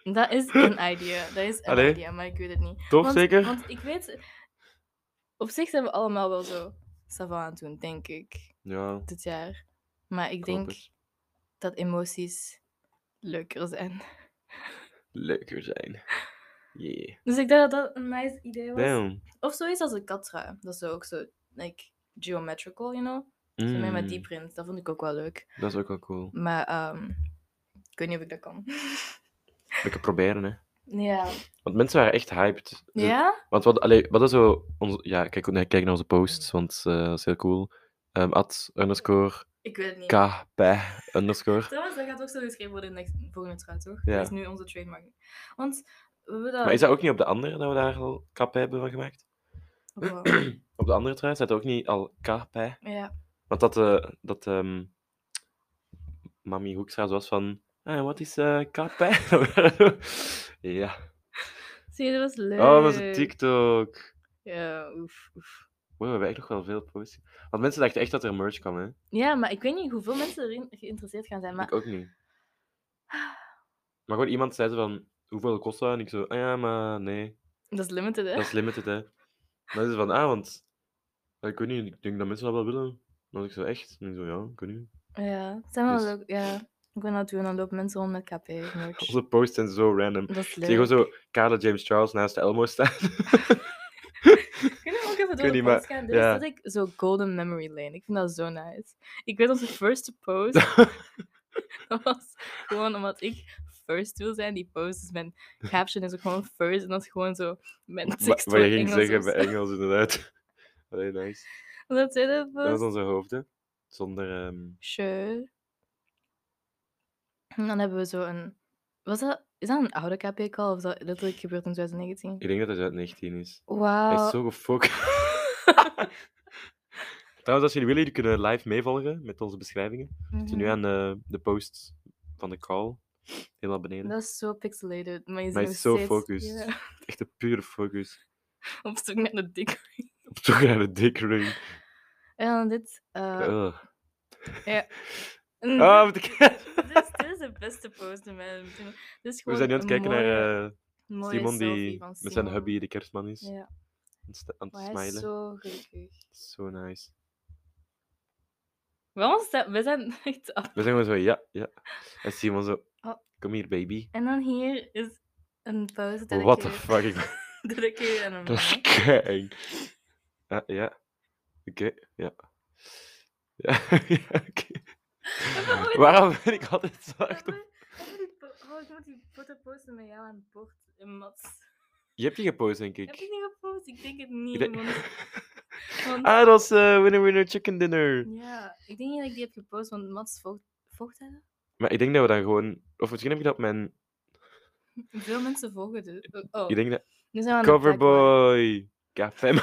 Speaker 3: Dat
Speaker 2: [laughs]
Speaker 3: is een idea. Dat is een
Speaker 2: Allee.
Speaker 3: idea, maar ik weet het niet.
Speaker 2: Toch
Speaker 3: want,
Speaker 2: zeker?
Speaker 3: Want ik weet... Op zich zijn we allemaal wel zo savant aan het doen, denk ik.
Speaker 2: Ja,
Speaker 3: Dit jaar. Maar ik
Speaker 2: ik hoop
Speaker 3: denk
Speaker 2: het.
Speaker 3: dat emoties leuker zijn. [laughs]
Speaker 2: Leuker zijn. Yeah.
Speaker 3: Dus ik dacht [laughs] dat dat een nice idee was.
Speaker 2: Damn.
Speaker 3: Of zoiets als een katra. Dat is zo ook zo, like, geometrical, you know? Zo meer
Speaker 2: Mm,
Speaker 3: met die print. Dat vond ik ook wel leuk.
Speaker 2: Dat is ook wel cool.
Speaker 3: Maar ehm, ik weet niet of ik dat kan.
Speaker 2: Lekker proberen, hè.
Speaker 3: ja.
Speaker 2: Want mensen waren echt hyped. Ze-
Speaker 3: Ja?
Speaker 2: Want wat, allee, wat is zo... Onze, ja, kijk, nee, kijk naar onze posts, want eh, dat is heel cool. Ehm at underscore
Speaker 3: Ik weet het niet.
Speaker 2: kp underscore.
Speaker 3: Trouwens, [laughs] dat gaat ook zo geschreven worden in de next- volgende trui, toch?
Speaker 2: Ja.
Speaker 3: Dat is nu onze trademark. Want we hebben dat...
Speaker 2: Maar is dat ook niet op de andere dat we daar al kp hebben van gemaakt?
Speaker 3: of wat?
Speaker 2: Op de andere trui staat ook niet al kp.
Speaker 3: ja.
Speaker 2: Want dat... eh dat ehm Mami Hoekstra was van... eh, wat is eh kp? [laughs] ja.
Speaker 3: Zie je, dat was leuk.
Speaker 2: Oh, dat is een TikTok.
Speaker 3: Ja, oef, oef.
Speaker 2: Wow, we hebben echt nog wel veel posts. Want mensen dachten echt dat er merch kwam, hè?
Speaker 3: Ja, maar ik weet niet hoeveel mensen erin geïnteresseerd gaan zijn, maar...
Speaker 2: Ik ook niet. Maar gewoon iemand zei zo van, hoeveel kost dat? En ik zo, ah ja, maar nee,
Speaker 3: Dat is limited, hè?
Speaker 2: dat is limited, hè. Maar ze van, ah, want, ja, ik weet niet, ik denk dat mensen dat wel willen. Dan was ik zo, echt? En ik zo, ja, ik weet niet. [laughs]
Speaker 3: Ja, het zijn wel
Speaker 2: Dus-
Speaker 3: leuk. Ja, ik ben dat doen. Dan lopen mensen rond met KP. merch.
Speaker 2: Onze posts zijn zo random.
Speaker 3: Dat is
Speaker 2: Ik
Speaker 3: leuk.
Speaker 2: zie gewoon zo Carla James Charles naast
Speaker 3: [laughs]
Speaker 2: Elmo staan.
Speaker 3: Kunnen we ook even
Speaker 2: weet
Speaker 3: door de
Speaker 2: niet, maar-
Speaker 3: post gaan? Dit
Speaker 2: ja. [laughs]
Speaker 3: is dat ik zo Golden Memory Lane. Ik vind dat zo nice. Ik weet onze first post. [laughs] dat was gewoon omdat ik first wil zijn. Die post is mijn caption is ook gewoon first. En dat is gewoon zo mijn
Speaker 2: Wat
Speaker 3: tekst
Speaker 2: wat je
Speaker 3: voor
Speaker 2: ging
Speaker 3: Engels dus.
Speaker 2: zeggen
Speaker 3: of
Speaker 2: bij
Speaker 3: zo.
Speaker 2: Engels, inderdaad. [laughs] Allee, nice.
Speaker 3: Dat tweede
Speaker 2: Dat was
Speaker 3: post.
Speaker 2: onze hoofden. Zonder, ehm,
Speaker 3: Sure. En dan hebben we zo een... Was dat, is dat een oude KP-call of is dat letterlijk gebeurd in 2019?
Speaker 2: ik denk dat hij uit 19 is. Hij is
Speaker 3: Wauw.
Speaker 2: zo gefocust.
Speaker 3: [laughs]
Speaker 2: Trouwens, als jullie willen, jullie kunnen live meevolgen met onze beschrijvingen. We zijn nu
Speaker 3: Mhm.
Speaker 2: aan de, de post van de call. Helemaal beneden.
Speaker 3: Dat is zo pixelated. Maar je
Speaker 2: Maar
Speaker 3: ziet
Speaker 2: hij is zo
Speaker 3: nog steeds-
Speaker 2: focused.
Speaker 3: ja,
Speaker 2: Echt een pure focus.
Speaker 3: [laughs] op zoek naar de dikke.
Speaker 2: Op zoek naar de [laughs] dick ring.
Speaker 3: En dan dit. eh, [laughs]
Speaker 2: Ugh.
Speaker 3: ja.
Speaker 2: Ah, wat ik- [laughs]
Speaker 3: dit, is, dit is de beste post in mijn opinion. Dit is
Speaker 2: We
Speaker 3: gewoon
Speaker 2: zijn nu aan het
Speaker 3: een
Speaker 2: kijken naar
Speaker 3: mooie-
Speaker 2: eh,
Speaker 3: mooie
Speaker 2: Simon
Speaker 3: selfie
Speaker 2: die
Speaker 3: van
Speaker 2: met zijn
Speaker 3: Simon.
Speaker 2: hubby de kerstman is.
Speaker 3: Ja,
Speaker 2: en sta- Aan het
Speaker 3: maar hij is
Speaker 2: smilen. Zo...
Speaker 3: zo gelukkig.
Speaker 2: nice.
Speaker 3: Waarom staan we zijn [laughs] echt af?
Speaker 2: We zijn gewoon zo, ja, ja. En Simon zo,
Speaker 3: Oh.
Speaker 2: kom hier baby.
Speaker 3: En dan hier is een pauze dat
Speaker 2: What the fuck? Ik
Speaker 3: [laughs] Dedicated aan een
Speaker 2: [laughs] Dat is
Speaker 3: man.
Speaker 2: kei. Ah, ja. Oké, ja. Ja, [laughs] ja, oké.
Speaker 3: nooit- [laughs]
Speaker 2: Waarom ben ik altijd zo
Speaker 3: Hebben
Speaker 2: achter-
Speaker 3: we- hebben we die po- Oh, ik moet die foto posten met jou aan het bord in Mats.
Speaker 2: Je hebt die gepost, denk ik.
Speaker 3: Heb je die gepost? Ik denk het niet.
Speaker 2: Ik denk-
Speaker 3: want- want-
Speaker 2: Ah, dat was eh, Winner Winner Chicken Dinner.
Speaker 3: Ja, ik denk niet dat ik die heb gepost, want Mats volgt, volgt hij dat?
Speaker 2: Maar ik denk dat we dan gewoon... Of misschien heb ik dat op mijn...
Speaker 3: Veel mensen volgen dit. Oh, Oh,
Speaker 2: Ik denk dat...
Speaker 3: nu zijn we aan de tagline.
Speaker 2: Coverboy! Café. [laughs]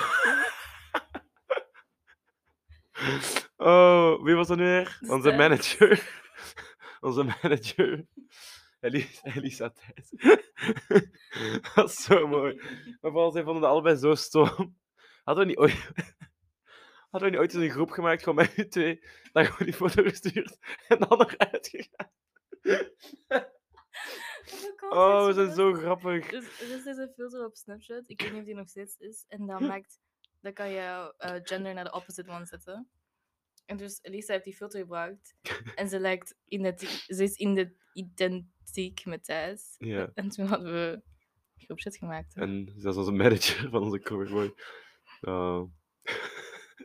Speaker 2: Oh, wie was dat nu weer? Onze
Speaker 3: Stijn.
Speaker 2: manager. [laughs] Onze manager. Elis- Elisa Thijs. [laughs] Dat is zo mooi. Maar vooral, zij vonden dat allebei zo stom. Hadden we niet ooit... [laughs] Hadden we niet ooit eens een groep gemaakt, gewoon met u twee, dat gewoon die foto gestuurd en dan eruit gegaan?
Speaker 3: Hoeveel context
Speaker 2: Oh, we
Speaker 3: voor
Speaker 2: zijn
Speaker 3: dat?
Speaker 2: zo grappig.
Speaker 3: Dus er is deze filter op Snapchat, ik weet niet of die nog steeds is, en
Speaker 2: Hm.
Speaker 3: dat maakt, dan kan je eh, gender naar de opposite one zetten. En dus Elisa heeft die filter gebruikt,
Speaker 2: [laughs]
Speaker 3: en ze lijkt identiek, ze is ide- identiek met Thijs.
Speaker 2: Ja,
Speaker 3: En toen hadden we groepchat gemaakt. hè.
Speaker 2: en zelfs onze manager [laughs] van onze coverboy. Oh. [laughs]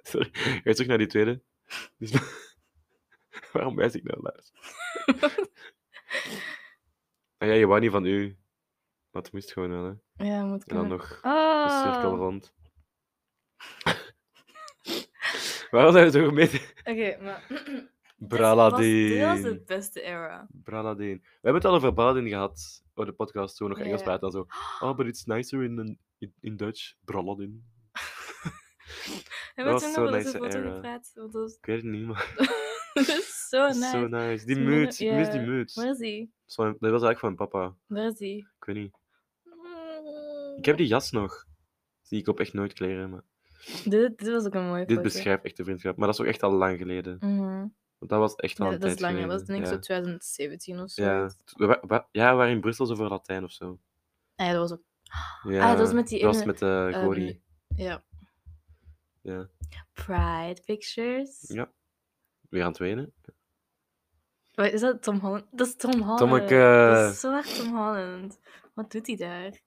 Speaker 2: Sorry, ga je terug naar die tweede? Die is- [laughs] Waarom wijs ik nou, Lars? Ah ja, je wou niet van u. Maar het moest gewoon wel, hè.
Speaker 3: Ja, moet
Speaker 2: En
Speaker 3: kunnen.
Speaker 2: dan nog een cirkel
Speaker 3: Oh!
Speaker 2: rond. [laughs] Waarom zijn we zo gemeten?
Speaker 3: Oké, maar... [clears throat] Dit was de
Speaker 2: Braladeen.
Speaker 3: beste era.
Speaker 2: Braladeen. We hebben het al over Braladeen gehad. Oh, de podcast, toen we nog Engels
Speaker 3: Ja.
Speaker 2: praten en zo. Oh, but it's nicer in, in, in Dutch. Braladeen.
Speaker 3: Hebben we
Speaker 2: was
Speaker 3: toen nog
Speaker 2: zo'n
Speaker 3: wel eens
Speaker 2: nice
Speaker 3: over foto
Speaker 2: era.
Speaker 3: gepraat? Want dat
Speaker 2: Ik weet het niet, maar
Speaker 3: was [laughs] dat is zo
Speaker 2: het is
Speaker 3: Oh, nice.
Speaker 2: [laughs] zo nice. Die
Speaker 3: Toen we nog-
Speaker 2: muts, ik mis die
Speaker 3: ja.
Speaker 2: muts.
Speaker 3: Waar is die?
Speaker 2: Dat is van- dat was eigenlijk van papa.
Speaker 3: Waar is die?
Speaker 2: Ik weet niet. Ik heb die jas nog. Zie ik op echt nooit kleren, maar...
Speaker 3: Dit, dit was ook een mooie
Speaker 2: Dit
Speaker 3: foto.
Speaker 2: beschrijft echt de vriendschap, maar dat is ook echt al lang geleden.
Speaker 3: Mhm.
Speaker 2: Want dat was echt al
Speaker 3: Ja,
Speaker 2: een
Speaker 3: dat is
Speaker 2: tijd
Speaker 3: langer. Dat is
Speaker 2: geleden,
Speaker 3: denk ik
Speaker 2: ja.
Speaker 3: zo 2017 of zo.
Speaker 2: Ja, t- we wa- wa- ja, we waren in Brussel zo voor Latijn of zo.
Speaker 3: Ah ja, dat was ook.
Speaker 2: Ja,
Speaker 3: Ah, dat was met die
Speaker 2: dat was
Speaker 3: ene,
Speaker 2: met eh,
Speaker 3: ehm,
Speaker 2: Gori.
Speaker 3: Ja.
Speaker 2: Ja.
Speaker 3: Pride Pictures.
Speaker 2: Ja. Weer aan het wenen.
Speaker 3: Wait, is dat Tom Holland? Dat is Tom Holland.
Speaker 2: Tommeke.
Speaker 3: Ah,
Speaker 2: eh,
Speaker 3: Dat is zo erg Tom Holland. Wat doet hij daar?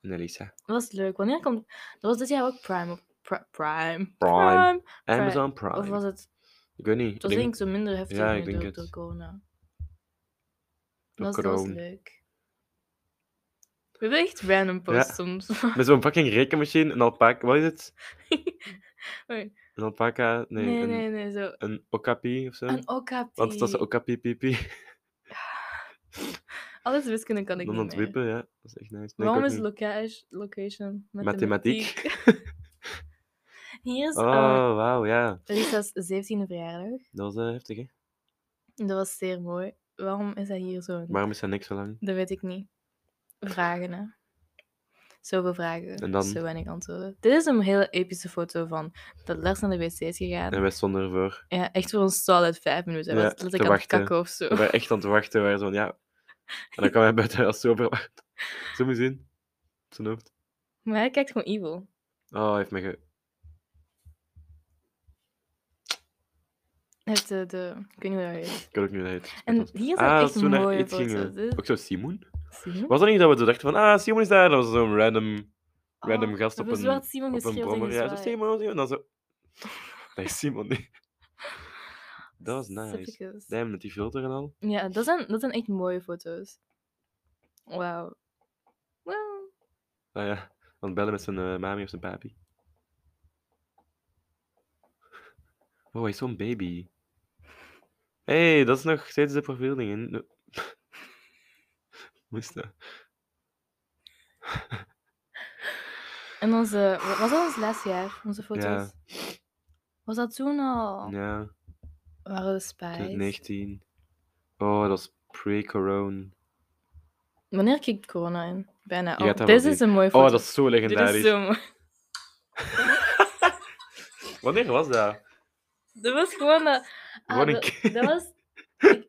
Speaker 2: En Elisa.
Speaker 3: Dat was leuk. Wanneer komt... Dat was dit jaar ook Prime. op- Pri- Prime.
Speaker 2: Prime. Amazon Prime.
Speaker 3: Of was het...
Speaker 2: Ik weet niet.
Speaker 3: Het
Speaker 2: Ik
Speaker 3: was
Speaker 2: denk-
Speaker 3: denk ik zo minder heftig
Speaker 2: Ja,
Speaker 3: nu
Speaker 2: ik denk
Speaker 3: door,
Speaker 2: het.
Speaker 3: door corona.
Speaker 2: Door
Speaker 3: Dat was, dat was
Speaker 2: corona.
Speaker 3: leuk. We hebben echt random posts soms. [laughs]
Speaker 2: Met zo'n fucking rekenmachine, een alpaca, wat is het?
Speaker 3: Oei.
Speaker 2: Een alpaca, nee,
Speaker 3: nee,
Speaker 2: een,
Speaker 3: nee, nee, zo.
Speaker 2: een okapi of zo.
Speaker 3: Een okapi.
Speaker 2: Wat is dat, een okapi pipi?
Speaker 3: Alles wiskunde kan ik
Speaker 2: Dan
Speaker 3: niet meer.
Speaker 2: ontwippen, ja. Dat is echt nice. Nee, ik
Speaker 3: Waarom
Speaker 2: ook
Speaker 3: is
Speaker 2: niet.
Speaker 3: location, location [laughs]
Speaker 2: Mathematiek.
Speaker 3: Hier is eh,
Speaker 2: Oh, wauw, ja.
Speaker 3: Lisa's 17e verjaardag.
Speaker 2: Dat was eh, heftig, hè?
Speaker 3: Dat was zeer mooi. Waarom is dat hier zo?
Speaker 2: Waarom is dat niks zo lang?
Speaker 3: Dat weet ik niet. Vragen, hè. Zoveel vragen,
Speaker 2: En dan?
Speaker 3: zo weinig antwoorden. Dit is een hele epische foto van dat Lars naar de wc is gegaan.
Speaker 2: En wij stonden ervoor.
Speaker 3: Ja, echt voor een solid vijf minuten. Hij
Speaker 2: Ja,
Speaker 3: was
Speaker 2: te
Speaker 3: letterlijk aan het
Speaker 2: wachten.
Speaker 3: kakken of zo.
Speaker 2: We waren echt aan het wachten, we waren zo van, ja. En
Speaker 3: [laughs]
Speaker 2: dan kwam hij buiten als sober uit. Zo moet je zien. Op Zijn hoofd.
Speaker 3: Maar hij kijkt gewoon evil.
Speaker 2: Oh, hij heeft me ge...
Speaker 3: Hij heeft de, de... Ik weet niet hoe dat heet.
Speaker 2: [laughs] Ik weet ook niet hoe dat heet.
Speaker 3: En hier zijn
Speaker 2: Ah, dat
Speaker 3: echt
Speaker 2: is toen we naar
Speaker 3: mooie
Speaker 2: iets
Speaker 3: foto's.
Speaker 2: gingen.
Speaker 3: Dit-
Speaker 2: Ook zo Simon?
Speaker 3: Zie je?
Speaker 2: Was dat niet dat we zo dachten van, ah, Simon is daar. Dat was zo'n random...
Speaker 3: Oh,
Speaker 2: random gast
Speaker 3: we
Speaker 2: op
Speaker 3: hebben
Speaker 2: een-
Speaker 3: zo hard Simon
Speaker 2: op een
Speaker 3: geschreeuwd en
Speaker 2: brommer. Ja, zo
Speaker 3: gezwaaid.
Speaker 2: Simon, Simon. Dan zo... [laughs] Dat is Simon niet.
Speaker 3: [laughs]
Speaker 2: Dat was nice.
Speaker 3: Sippekes.
Speaker 2: Damn, met die filter en al.
Speaker 3: Ja, dat zijn, dat zijn echt mooie foto's. Wauw. Wauw.
Speaker 2: Ah ja, aan het bellen met zijn eh, mami of zijn papi. Oh, hij is zo'n baby. Hé, hey, dat is nog steeds de profielding. hè? [laughs] No- Hoe is dat?
Speaker 3: En onze... wa- Was dat ons laatste jaar, onze foto's?
Speaker 2: Ja.
Speaker 3: Was dat toen al?
Speaker 2: Ja,
Speaker 3: Waren we spijt?
Speaker 2: 19. Oh, dat is pre-corona.
Speaker 3: Wanneer kikt corona in? Bijna.
Speaker 2: Je
Speaker 3: Oh,
Speaker 2: gaat dat wel
Speaker 3: deze is
Speaker 2: zien.
Speaker 3: een mooie foto.
Speaker 2: Oh, dat is zo
Speaker 3: Dit
Speaker 2: legendarisch.
Speaker 3: is zo mooi.
Speaker 2: Wanneer was dat?
Speaker 3: Dat was gewoon dat... Ah,
Speaker 2: Gewoon een
Speaker 3: dat,
Speaker 2: keer.
Speaker 3: dat
Speaker 2: [laughs]
Speaker 3: was... Ik,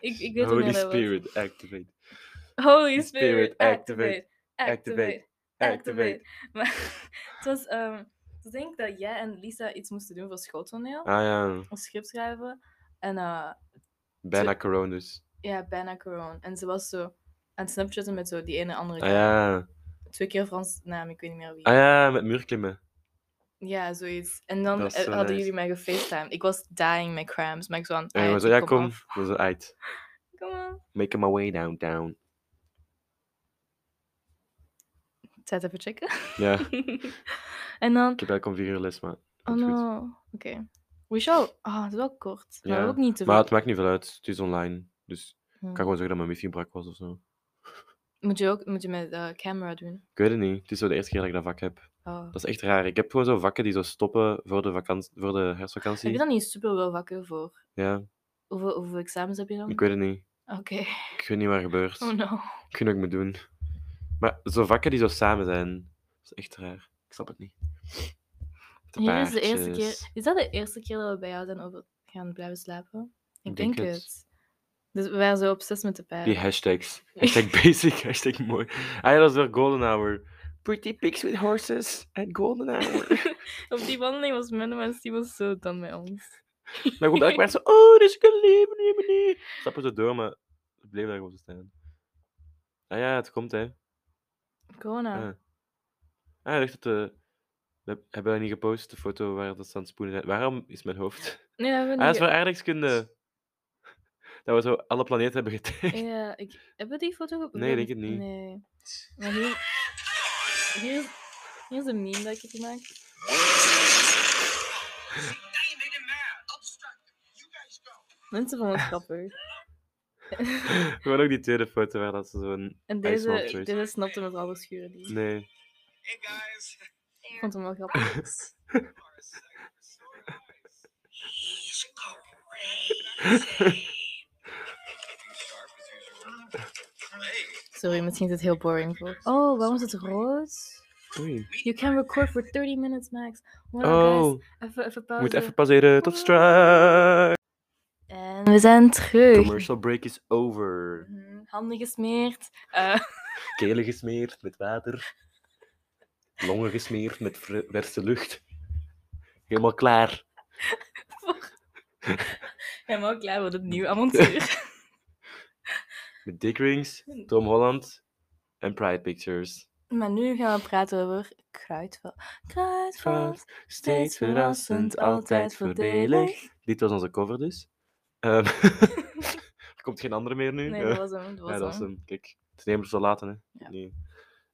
Speaker 3: ik, ik weet niet
Speaker 2: Holy
Speaker 3: meer dat was.
Speaker 2: Spirit, activate.
Speaker 3: Holy
Speaker 2: Spirit,
Speaker 3: Spirit,
Speaker 2: activate,
Speaker 3: activate,
Speaker 2: activate,
Speaker 3: activate,
Speaker 2: Activate.
Speaker 3: [laughs] Maar het was, ehm, ik denk dat jij en Lisa iets moesten doen voor schooltoneel,
Speaker 2: Ah ja,
Speaker 3: een script schrijven. En eh,
Speaker 2: bijna corona dus.
Speaker 3: ja, bijna corona. En ze was zo aan het snapchatten met zo die ene andere
Speaker 2: Ah
Speaker 3: guy.
Speaker 2: ja,
Speaker 3: Twee keer Frans naam, ik weet niet meer wie.
Speaker 2: ah ja, met muurklimmen.
Speaker 3: Ja, zoiets. En dan
Speaker 2: Dat is
Speaker 3: eh,
Speaker 2: zo
Speaker 3: hadden
Speaker 2: nice.
Speaker 3: jullie mij gefacetimed. Ik was dying met cramps, maar ik zo aan het
Speaker 2: En we
Speaker 3: uit,
Speaker 2: zo, ja
Speaker 3: kom
Speaker 2: kom,
Speaker 3: af.
Speaker 2: dat is uit.
Speaker 3: Kom aan.
Speaker 2: Making my way downtown.
Speaker 3: Tijd even checken.
Speaker 2: Ja, ik
Speaker 3: [laughs] en dan
Speaker 2: heb eigenlijk om vier uur les, maar.
Speaker 3: Oh
Speaker 2: komt goed.
Speaker 3: no. Oké. We shall... Ah, het is wel kort. Maar
Speaker 2: Ja,
Speaker 3: ook niet te
Speaker 2: Maar
Speaker 3: veel.
Speaker 2: het maakt niet veel uit, het is online. Dus ik
Speaker 3: Hmm.
Speaker 2: kan gewoon zeggen dat mijn wifi brak was of zo.
Speaker 3: Moet je ook moet je met de camera doen.
Speaker 2: Ik weet het niet, het is zo de eerste keer dat ik dat vak heb.
Speaker 3: Oh.
Speaker 2: Dat is echt raar. Ik heb gewoon zo vakken die zo stoppen voor de, vakantie, voor de herfstvakantie.
Speaker 3: Heb je dan niet super wel wakker voor?
Speaker 2: Ja,
Speaker 3: Hoeveel, hoeveel examens heb je dan?
Speaker 2: ik weet het niet.
Speaker 3: Oké. [laughs]
Speaker 2: Ik weet niet waar gebeurt.
Speaker 3: Oh no.
Speaker 2: Ik weet niet wat ik moet doen. Maar zo vakken die zo samen zijn, dat is echt raar. Ik snap het niet. De
Speaker 3: Hier is de eerste
Speaker 2: paardjes.
Speaker 3: keer... Is dat de eerste keer dat we bij jou zijn over gaan blijven slapen? Ik
Speaker 2: Ik denk
Speaker 3: denk,
Speaker 2: het.
Speaker 3: het. Dus we waren zo obsessief met de paarden.
Speaker 2: Die hashtags. Hashtag [laughs] basic, hashtag mooi. Ah ja, dat is weer golden hour. Pretty pics with horses at golden hour.
Speaker 3: [laughs]
Speaker 2: [laughs]
Speaker 3: Op die wandeling was mijn mens, die was zo dan met ons.
Speaker 2: Dan komt elke mensen, oh, dit is een leven, nee, nee, nee. Stappen ze door, maar ze bleven daar gewoon zo staan. Ah ja, het komt, hè.
Speaker 3: Corona.
Speaker 2: Ah, ah ik dacht dat de... We heb- hebben dat niet gepost, de foto waar dat ze aan het spoelen zijn. Waarom is mijn hoofd...
Speaker 3: Nee, dat hebben
Speaker 2: Ah,
Speaker 3: we
Speaker 2: dat
Speaker 3: niet...
Speaker 2: is voor aardrijkskunde. [laughs] Dat we zo alle planeten hebben getekend.
Speaker 3: Ja, ik... Hebben we die foto gepost?
Speaker 2: Nee, denk het niet.
Speaker 3: Nee. Maar hier... Hier is, hier is een meme dat ik heb gemaakt. Mensen vonden
Speaker 2: [laughs]
Speaker 3: het grappig.
Speaker 2: Gewoon ook die tweede foto waar dat ze zo'n...
Speaker 3: En
Speaker 2: Hij is wel
Speaker 3: deze,
Speaker 2: choice.
Speaker 3: deze snapte met alle schuren die.
Speaker 2: Nee.
Speaker 4: Hey guys.
Speaker 3: Ik vond hem wel grappig.
Speaker 4: He's crazy.
Speaker 3: Oh, Sorry, misschien is het heel boring voor. Oh, waarom is het rood?
Speaker 2: Oei.
Speaker 3: You can record for 30 minutes max. Voilà,
Speaker 2: Oh,
Speaker 3: guys. Even, even
Speaker 2: ik
Speaker 3: pauze.
Speaker 2: moet even passeren tot straks.
Speaker 3: En we zijn terug.
Speaker 2: Commercial break is over.
Speaker 3: Mhm, Handen gesmeerd. Eh, [laughs]
Speaker 2: Kelen gesmeerd met water. Longen gesmeerd met fre- verse lucht. Helemaal klaar.
Speaker 3: helemaal klaar voor het nieuwe avontuur.
Speaker 2: Met Dick Rings, Tom Holland en Pride Pictures.
Speaker 3: [laughs] maar nu gaan we praten over kruidvat. Kruidvat,
Speaker 2: Kruidvat, Steeds verrassend, altijd voordelig.
Speaker 3: voordelig.
Speaker 2: Dit was onze cover dus. Ehm,
Speaker 3: [laughs]
Speaker 2: er komt geen andere meer nu.
Speaker 3: Nee,
Speaker 2: Ja.
Speaker 3: dat was hem. Dat was
Speaker 2: Ja, dat is
Speaker 3: hem.
Speaker 2: hem. Kijk, het is niet meer zo laten, hè.
Speaker 3: Ja.
Speaker 2: Nee.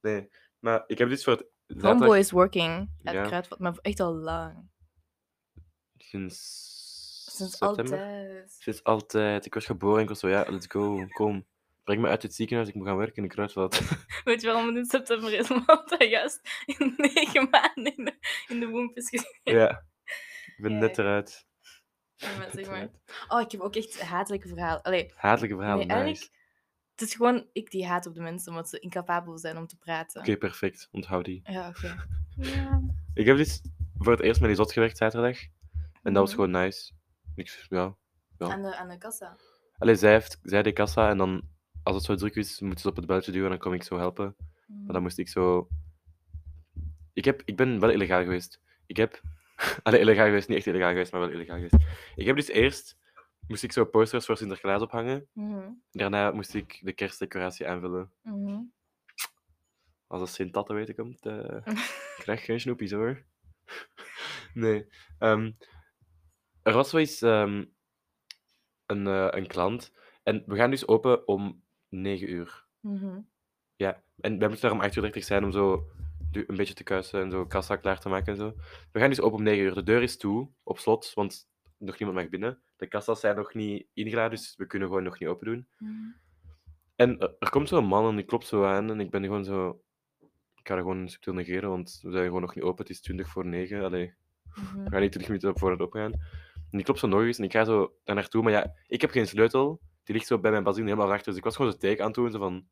Speaker 2: nee. Maar ik heb dit voor het...
Speaker 3: Homeboy
Speaker 2: zaterdag
Speaker 3: is working at
Speaker 2: Ja.
Speaker 3: Kruidvat, maar echt al lang.
Speaker 2: Sinds...
Speaker 3: Sinds
Speaker 2: september.
Speaker 3: altijd.
Speaker 2: Sinds altijd. Ik was geboren en ik was zo, ja, let's go, kom. Breng me uit het ziekenhuis, ik moet gaan werken in de kruidvat. [laughs]
Speaker 3: Weet je waarom het in september is? [laughs] Omdat hij juist in negen maanden in de, in de womb is gezeten.
Speaker 2: ja. Ik ben
Speaker 3: Ja,
Speaker 2: net eruit.
Speaker 3: Ja, maar
Speaker 2: Net
Speaker 3: zeg maar.
Speaker 2: eruit.
Speaker 3: Oh, ik heb ook echt hatelijke verhalen. Allee,
Speaker 2: Hatelijke verhalen,
Speaker 3: nee, eigenlijk...
Speaker 2: nice.
Speaker 3: Het is gewoon ik die haat op de mensen, omdat ze incapabel zijn om te praten.
Speaker 2: Oké, perfect. Onthoud die.
Speaker 3: Ja, oké.
Speaker 2: [laughs] Ik heb dit voor het eerst met Lisot gewerkt zaterdag. En dat was
Speaker 3: Mhm.
Speaker 2: gewoon nice. Ik, ja. Ja.
Speaker 3: Aan, de, aan de kassa.
Speaker 2: Allee, zij, heeft, zij deed kassa en dan, als het zo druk is, moeten ze op het belletje duwen en dan kom ik zo helpen. Maar dan moest ik zo. Ik, heb, ik ben wel illegaal geweest. Ik heb. [laughs] Allee, illegaal geweest, niet echt illegaal geweest, maar wel illegaal geweest. Ik heb dus eerst. Moest ik zo posters voor Sinterklaas ophangen.
Speaker 3: Mhm,
Speaker 2: Daarna moest ik de kerstdecoratie aanvullen.
Speaker 3: mhm.
Speaker 2: Als dat Sint Tatte weet ik hem. eh, ik krijg geen snoepjes hoor. [laughs] nee. ehm, er was zoiets. ehm, een, eh, een klant. En we gaan dus open om 9 uur.
Speaker 3: Mhm.
Speaker 2: Ja, en wij moeten daar om 8 uur 30 zijn om zo du- een beetje te kuisen en zo kassa klaar te maken en zo. We gaan dus open om 9 uur. De deur is toe, op slot, want nog niemand mag binnen. De kassa's zijn nog niet ingeladen, dus we kunnen gewoon nog niet open doen.
Speaker 3: Mhm.
Speaker 2: En eh, er komt zo'n man en die klopt zo aan en ik ben gewoon zo... Ik ga dat gewoon subtiel negeren, want we zijn gewoon nog niet open. Het is 20 voor 9. Allee,
Speaker 3: Mhm.
Speaker 2: we gaan niet 20 minuten op vooruit opgaan. En die klopt zo nog eens en ik ga zo daar naartoe. Maar ja, ik heb geen sleutel. Die ligt zo bij mijn bazin helemaal achter. Dus ik was gewoon zo teken aan het doen. Zo van,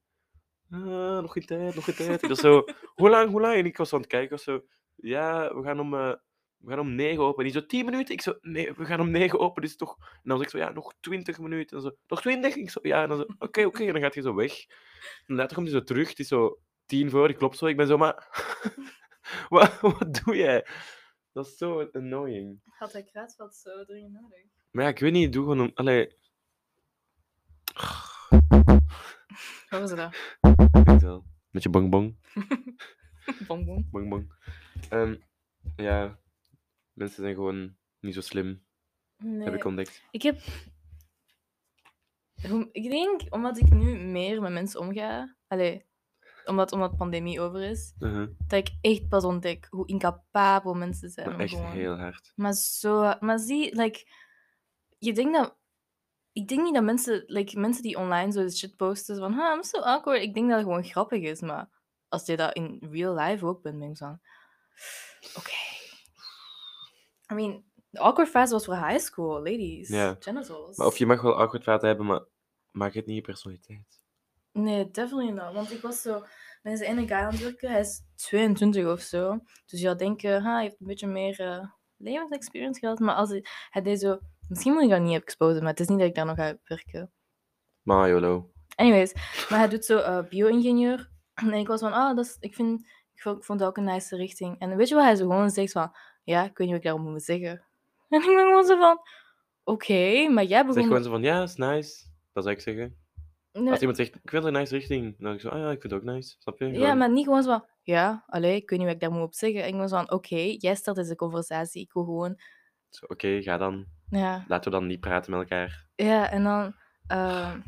Speaker 2: "Ah, nog geen tijd, nog geen tijd. Ik was zo, hoe lang, hoe lang? En ik was zo aan het kijken. Ik was zo, ja, we gaan om... eh, we gaan om negen open. En die zo, tien minuten? Ik zo, nee, we gaan om negen open, dus toch... En dan was ik zo, ja, nog twintig minuten. En zo, nog twintig? Ik zo, ja. En dan zo, oké, oké. En dan gaat hij zo weg. En later komt hij zo terug. Het is zo tien voor, ik klopt zo. Ik ben zo, maar... [laughs] wat, wat doe jij? Dat is zo annoying.
Speaker 3: Had hij kruidvat zo dringend nodig?
Speaker 2: Maar ja, ik weet niet, doe gewoon een... Allee,
Speaker 3: Horen ze [laughs] dat?
Speaker 2: ik denk wel. Met je bong bong,
Speaker 3: Bom, bom.
Speaker 2: bong bong. Ehm, ja, mensen zijn gewoon niet zo slim, heb
Speaker 3: Nee.
Speaker 2: ik ontdekt.
Speaker 3: Ik heb... Hoe- Ik denk, omdat ik nu meer met mensen omga... Allee, omdat, omdat pandemie over is...
Speaker 2: Uh-huh.
Speaker 3: Dat ik echt pas ontdek hoe incapabel mensen zijn.
Speaker 2: Maar
Speaker 3: om
Speaker 2: echt
Speaker 3: gewoon-
Speaker 2: heel hard.
Speaker 3: Maar zo, maar zie, like, je denkt dat. Ik denk niet dat mensen, like, mensen die online zo shit posten van, ha, I'm so awkward. Ik denk dat het gewoon grappig is, maar als je dat in real life ook bent, ben ik zo. van, Oké. I mean, de awkward fase was voor high school, ladies.
Speaker 2: Ja.
Speaker 3: Genitals.
Speaker 2: Maar of je mag wel awkward water hebben, maar maak het niet je personaliteit.
Speaker 3: Nee, definitely not. Want ik was zo met zijn ene guy aan het werken. Hij is 22 of zo. Dus je zou denken, ha, hij heeft een beetje meer eh levensexperience gehad. Maar als hij, hij deed zo... Misschien moet ik dat niet exposen, maar het is niet dat ik daar nog ga werken.
Speaker 2: Maar YOLO.
Speaker 3: Anyways, maar hij doet zo eh, bio-ingenieur. [clears throat] En ik was van, ah, dat is, ik, vind, ik vond, ik vond dat ook een nice richting. En weet je wat hij zo gewoon zegt van, ja, ik weet niet wat ik daarom moet zeggen. [laughs] En ik ben gewoon zo van, oké, maar jij
Speaker 2: Zeg
Speaker 3: begon...
Speaker 2: gewoon zo van, ja, is nice. Dat zou ik zeggen.
Speaker 3: Nee,
Speaker 2: Als iemand zegt, ik wil een nice richting. Dan denk ik zo, ah ja, ik vind het ook nice. Snap je?
Speaker 3: Ja,
Speaker 2: Gewoon-
Speaker 3: maar niet gewoon zo van, ja, allee, ik weet niet wat ik daar moet op zeggen. Ik was van, oké, jij stelt deze conversatie, ik wil gewoon,
Speaker 2: Zo, Oké, ga dan.
Speaker 3: ja,
Speaker 2: Laten we dan niet praten met elkaar.
Speaker 3: ja, en dan, ehm,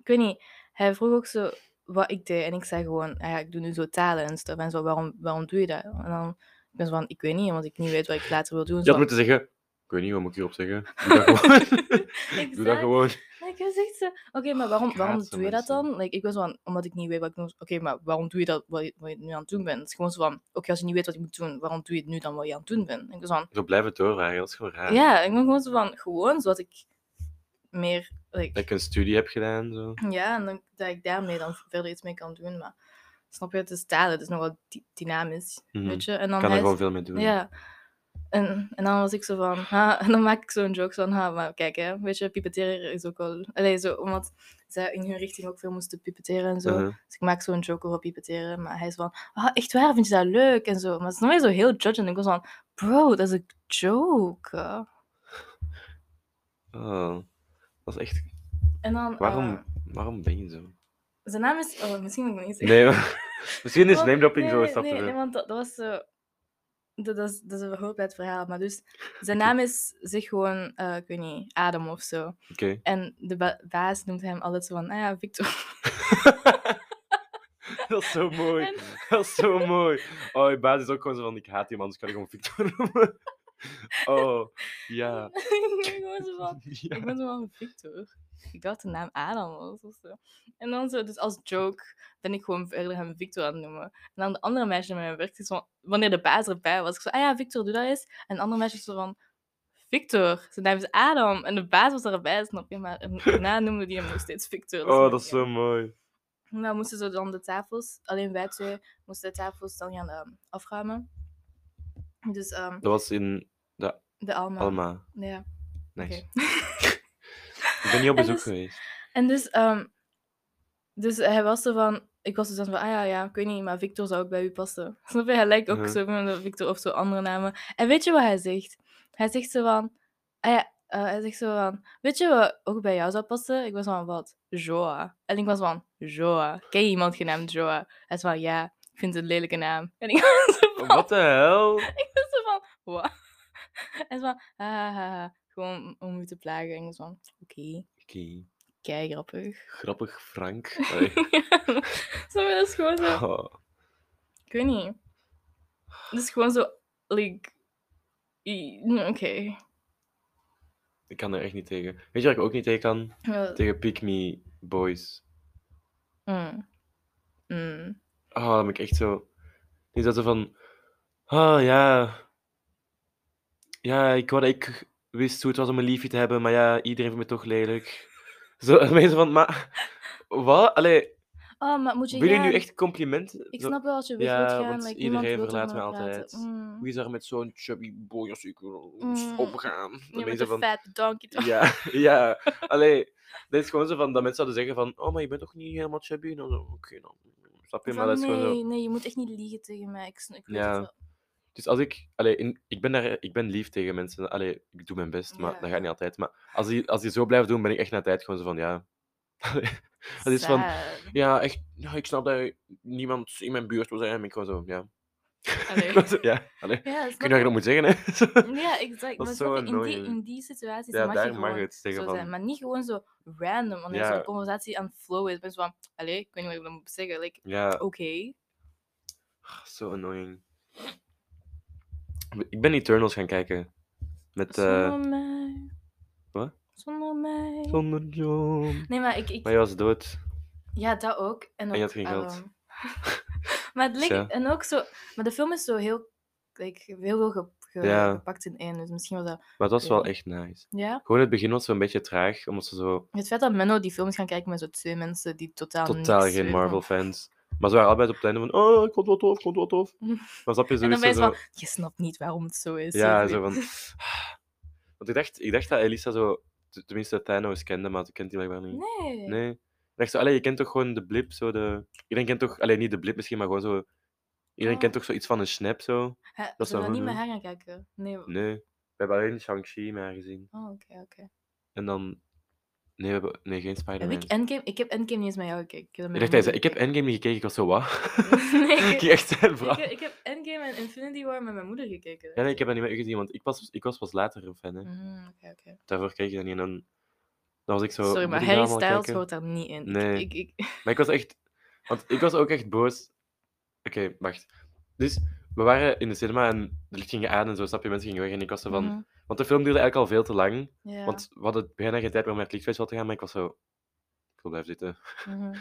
Speaker 3: ik weet niet, hij vroeg ook zo wat ik deed en ik zei gewoon, ah ja, ik doe nu zo talen en stuff en zo, waarom, waarom doe je dat? En dan, ik ben zo van, ik weet niet, want ik niet weet wat ik later wil doen.
Speaker 2: Je
Speaker 3: Zo
Speaker 2: had
Speaker 3: van,
Speaker 2: moeten zeggen, ik weet niet, wat moet ik hierop zeggen? Doe
Speaker 3: [laughs]
Speaker 2: dat gewoon. Doe dat
Speaker 3: Exact.
Speaker 2: gewoon.
Speaker 3: En Ik was echt zo, oké, maar waarom, waarom
Speaker 2: Oh, haat zo'n
Speaker 3: doe je dat
Speaker 2: mensen.
Speaker 3: dan? Like, ik was van, omdat ik niet weet wat ik moet... Oké, maar waarom doe je dat, wat je, wat je nu aan het doen bent? Het is gewoon zo van, oké, als je niet weet wat je moet doen, waarom doe je het nu dan wat je aan het doen bent? En ik was van,
Speaker 2: Zo blijven doorvragen, dat is gewoon raar.
Speaker 3: Ja, ik ben gewoon zo van, gewoon zodat ik meer, like,
Speaker 2: Dat ik een studie heb gedaan, zo.
Speaker 3: ja, en dan, dat ik daarmee dan verder iets mee kan doen, maar Snap je? Het is talen, het is nogal di- dynamisch.
Speaker 2: Mhm.
Speaker 3: Weet je? En dan
Speaker 2: kan er
Speaker 3: hij-
Speaker 2: gewoon veel mee doen.
Speaker 3: Ja. En, en dan was ik zo van, ha, [laughs] en dan maak ik zo'n joke van, ha, maar kijk hè, weet je, pipeteren is ook wel... Allee, zo, omdat zij in hun richting ook veel moesten pipeteren en zo.
Speaker 2: Uh-huh.
Speaker 3: Dus ik maak zo'n joke over pipeteren, maar hij is van, ah, echt waar, vind je dat leuk en zo. Maar het is nog zo heel judging. Ik was van, bro, dat is een joke.
Speaker 2: Oh, dat is echt.
Speaker 3: En dan...
Speaker 2: Waarom,
Speaker 3: eh,
Speaker 2: waarom ben je
Speaker 3: [laughs]
Speaker 2: zo?
Speaker 3: zijn naam is... Oh, misschien moet ik het niet zeggen.
Speaker 2: Nee, [laughs] maar- misschien is
Speaker 3: Wel,
Speaker 2: name dropping
Speaker 3: Oh, nee,
Speaker 2: zo
Speaker 3: nee,
Speaker 2: een stap
Speaker 3: nee,
Speaker 2: te
Speaker 3: nee,
Speaker 2: ver.
Speaker 3: want dat, dat was zo... Dat, dat, is, dat is een hoop uit het verhaal. Maar dus, zijn naam is zeg gewoon, eh, ik weet niet, Adam of zo. [laughs]
Speaker 2: Oké.
Speaker 3: En de ba- baas noemt hem altijd zo van, ah ja, Victor.
Speaker 2: Dat is zo mooi.
Speaker 3: En-
Speaker 2: Dat is zo mooi. Oh, je baas is ook gewoon zo van: ik haat die man, dus ik kan ik gewoon Victor
Speaker 3: [laughs]
Speaker 2: noemen. Oh, ja.
Speaker 3: ik ben gewoon zo van,
Speaker 2: [laughs] ja.
Speaker 3: ik ben zo van Victor. Ik dacht de naam Adam was of zo. En dan zo, dus als joke ben ik gewoon verder hem Victor aan het noemen. En dan de andere meisje bij mijn werk, die zo, wanneer de baas erbij was, ik zo, ah ja, Victor, doe dat eens. En de andere meisje zo van, Victor, zijn naam is Adam. En de baas was erbij, snap je?
Speaker 2: [laughs]
Speaker 3: Maar en daarna noemde die hem nog steeds Victor. dus
Speaker 2: Oh,
Speaker 3: maar
Speaker 2: dat is
Speaker 3: ja.
Speaker 2: zo mooi.
Speaker 3: En dan moesten ze dan de tafels, alleen wij twee, moesten de tafels dan gaan ehm, afruimen. Dus ehm,
Speaker 2: Dat was in
Speaker 3: de Alma.
Speaker 2: Alma.
Speaker 3: Ja, oké.
Speaker 2: Nice. Ik ben niet
Speaker 3: [laughs]
Speaker 2: op
Speaker 3: En
Speaker 2: bezoek
Speaker 3: dus-
Speaker 2: geweest.
Speaker 3: En dus, ehm, dus hij was er van... Ik was dus dan van, ah ja, ja, ik weet niet, maar Victor zou ook bij u passen. [laughs] Snap je? Hij lijkt ook
Speaker 2: Mhm.
Speaker 3: zo van de Victor of zo andere namen. En weet je wat hij zegt? Hij zegt zo van... Ah ja, eh, hij zegt zo van, weet je wat ook bij jou zou passen? Ik was van, wat? Joa. En ik was van, Joa. Ken je iemand genaamd Joa? Hij is van, ja, ik vind het een lelijke naam. En ik was zo van,
Speaker 2: Wat de hel?
Speaker 3: Oh. ik was zo van, wat? [laughs] En ze van, ah, ah, ah, ah, gewoon om u te plagen. En ik was van, oké,
Speaker 2: Oké,
Speaker 3: kei grappig. [laughs]
Speaker 2: Grappig, Frank. Allee.
Speaker 3: Zo, maar dat is gewoon zo,
Speaker 2: Oh,
Speaker 3: ik weet niet. Dat is gewoon zo, like, i- mm, oké.
Speaker 2: ik kan er echt niet tegen. Weet je waar ik ook niet tegen kan?
Speaker 3: Wel,
Speaker 2: Tegen Pick Me Boys.
Speaker 3: mm, mm.
Speaker 2: Ah, dan ben ik echt zo. Niet dat ze van. Ah ja. Ja, ik wou dat ik wist hoe het was om een liefje te hebben, maar ja, iedereen vindt me toch lelijk. [laughs] Zo, dan ben je zo van, maar. Wat? Allee,
Speaker 3: Oh, maar moet je
Speaker 2: wil je nu
Speaker 3: gaan?
Speaker 2: echt complimenten?
Speaker 3: Ik
Speaker 2: Zo,
Speaker 3: snap wel als je weg
Speaker 2: Ja,
Speaker 3: wilt gaan,
Speaker 2: want
Speaker 3: like, niemand
Speaker 2: iedereen
Speaker 3: wil toch
Speaker 2: verlaat
Speaker 3: maar
Speaker 2: me
Speaker 3: praten.
Speaker 2: altijd.
Speaker 3: Mm.
Speaker 2: Wie is daar met zo'n chubby boy als ik wil
Speaker 3: Mm.
Speaker 2: opgaan? Dan
Speaker 3: Je
Speaker 2: ben je
Speaker 3: bent
Speaker 2: zo
Speaker 3: een
Speaker 2: van.
Speaker 3: fat donkey. toch?
Speaker 2: Ja, [laughs] ja. Allee, dat is gewoon zo van dat mensen zouden zeggen van, oh, maar je bent toch niet helemaal chubby? En dan zo, oké, dan. Snap je?
Speaker 3: Van,
Speaker 2: Maar dat is
Speaker 3: nee,
Speaker 2: gewoon zo.
Speaker 3: nee, je moet echt niet liegen tegen mij. Ik, sn- ik weet
Speaker 2: Ja.
Speaker 3: het wel.
Speaker 2: Dus als ik, allee, in- ik, ben daar, ik ben lief tegen mensen. Allee, ik doe mijn best, maar
Speaker 3: Ja,
Speaker 2: dat
Speaker 3: ja.
Speaker 2: gaat niet altijd. Maar als die, als die zo blijft doen, ben ik echt na tijd gewoon zo van ja. Allee, dat is van
Speaker 3: Sad.
Speaker 2: [laughs] ja, echt. nou, ik snap dat je niemand in mijn buurt wil zijn. Ben ik gewoon zo ja.
Speaker 3: Allee.
Speaker 2: Gewoon zo, [laughs] ja, allee.
Speaker 3: Ja,
Speaker 2: Ik
Speaker 3: snap
Speaker 2: weet niet of je dat moet zeggen, hè? [laughs] Zo.
Speaker 3: Ja, exact.
Speaker 2: Dat
Speaker 3: maar
Speaker 2: is
Speaker 3: snap
Speaker 2: zo
Speaker 3: je, in, die,
Speaker 2: annoying.
Speaker 3: in die situaties
Speaker 2: Ja,
Speaker 3: mag je
Speaker 2: daar mag
Speaker 3: gewoon
Speaker 2: het zeggen
Speaker 3: zo zijn.
Speaker 2: van.
Speaker 3: Maar niet gewoon zo random, wanneer
Speaker 2: Ja.
Speaker 3: zo'n conversatie aan het flow is. Ben je zo van, allee, ik weet niet wat ik dan moet zeggen. Like,
Speaker 2: Ja,
Speaker 3: oké.
Speaker 2: zo annoying. Ik ben Eternals gaan kijken. Met. eh
Speaker 3: Zonder mij.
Speaker 2: wat?
Speaker 3: Zonder mij.
Speaker 2: Zonder John.
Speaker 3: Nee, maar ik... ik
Speaker 2: Maar je was dood.
Speaker 3: Ja, dat ook. En,
Speaker 2: je
Speaker 3: ook,
Speaker 2: had geen geld. [laughs]
Speaker 3: ehm, maar het leek...
Speaker 2: Tja.
Speaker 3: En ook zo... Maar de film is zo heel... Like, heel veel ge- ge-
Speaker 2: Ja.
Speaker 3: gepakt in één. Dus misschien was dat...
Speaker 2: Maar het was wel
Speaker 3: Ja.
Speaker 2: echt nice.
Speaker 3: Ja?
Speaker 2: Gewoon het begin was zo'n beetje traag, omdat ze zo.
Speaker 3: Het feit dat Menno die films gaan kijken met zo twee mensen die totaal
Speaker 2: totaal
Speaker 3: niks
Speaker 2: geen
Speaker 3: weten van-
Speaker 2: Marvel-fans. Maar ze waren allebei op het einde van, oh, ik vond het wel tof, ik vond het
Speaker 3: [laughs]
Speaker 2: wel tof.
Speaker 3: Mhm.
Speaker 2: Maar snap je,
Speaker 3: En dan
Speaker 2: sowieso
Speaker 3: ben je
Speaker 2: zo...
Speaker 3: van, je snapt niet waarom het zo is.
Speaker 2: [laughs] ja,
Speaker 3: of
Speaker 2: zo
Speaker 3: weet-
Speaker 2: van... [sighs] Want ik dacht, ik dacht dat Elisa zo... t- Tenminste, Thanos kende, maar ze kent die blijkbaar niet.
Speaker 3: Nee.
Speaker 2: Nee. Ik dacht zo, allee, je kent toch gewoon de blip, zo de... Iedereen kent toch... Allee, niet de blip misschien, maar gewoon zo... Iedereen
Speaker 3: Ah.
Speaker 2: kent toch zoiets van een snap, zo?
Speaker 3: Hè,
Speaker 2: Dat
Speaker 3: zullen
Speaker 2: zou
Speaker 3: we niet
Speaker 2: gewoon,
Speaker 3: met
Speaker 2: eh,
Speaker 3: haar gaan kijken? Nee. w-
Speaker 2: Nee. We hebben alleen Shang-Chi met haar gezien.
Speaker 3: Oh, oké, oké.
Speaker 2: En dan... Nee, we hebben... Nee, geen
Speaker 3: Heb
Speaker 2: Spider-Man.
Speaker 3: ik Endgame? Ik heb Endgame niet eens met jou gekeken. Ik, heb dat
Speaker 2: Ik
Speaker 3: met
Speaker 2: dacht,
Speaker 3: mijn moeder
Speaker 2: hij zei, ik heb Endgame niet gekeken, ik was zo, wat?
Speaker 3: gekeken. [laughs] Nee,
Speaker 2: [laughs] ik
Speaker 3: ik,
Speaker 2: ging echt zijn
Speaker 3: ik,
Speaker 2: verhaal.
Speaker 3: heb- ik heb Endgame en Infinity War met mijn moeder gekeken.
Speaker 2: Ja, nee, ik heb dat niet met u gezien, want ik was, ik was pas later een fan. Hè.
Speaker 3: Mm, oké, oké.
Speaker 2: Daarvoor kreeg je dat niet. En dan, dan was ik zo.
Speaker 3: Sorry,
Speaker 2: moet
Speaker 3: maar
Speaker 2: ik dat
Speaker 3: Harry
Speaker 2: allemaal
Speaker 3: Styles
Speaker 2: kijken?
Speaker 3: hoort daar niet in. Ik-
Speaker 2: Nee.
Speaker 3: Ik, ik,
Speaker 2: Maar ik was echt. Want ik was ook echt boos. Oké, wacht. Dus we waren in de cinema en de licht ging aan en zo, snap je? Mensen gingen weg en ik was zo van.
Speaker 3: Mhm,
Speaker 2: Want de film duurde eigenlijk al veel te lang.
Speaker 3: [laughs] ja.
Speaker 2: Want we hadden bijna geen tijd meer om naar het lichtfestival te gaan, maar ik was zo. Ik wil blijven zitten.
Speaker 3: mhm.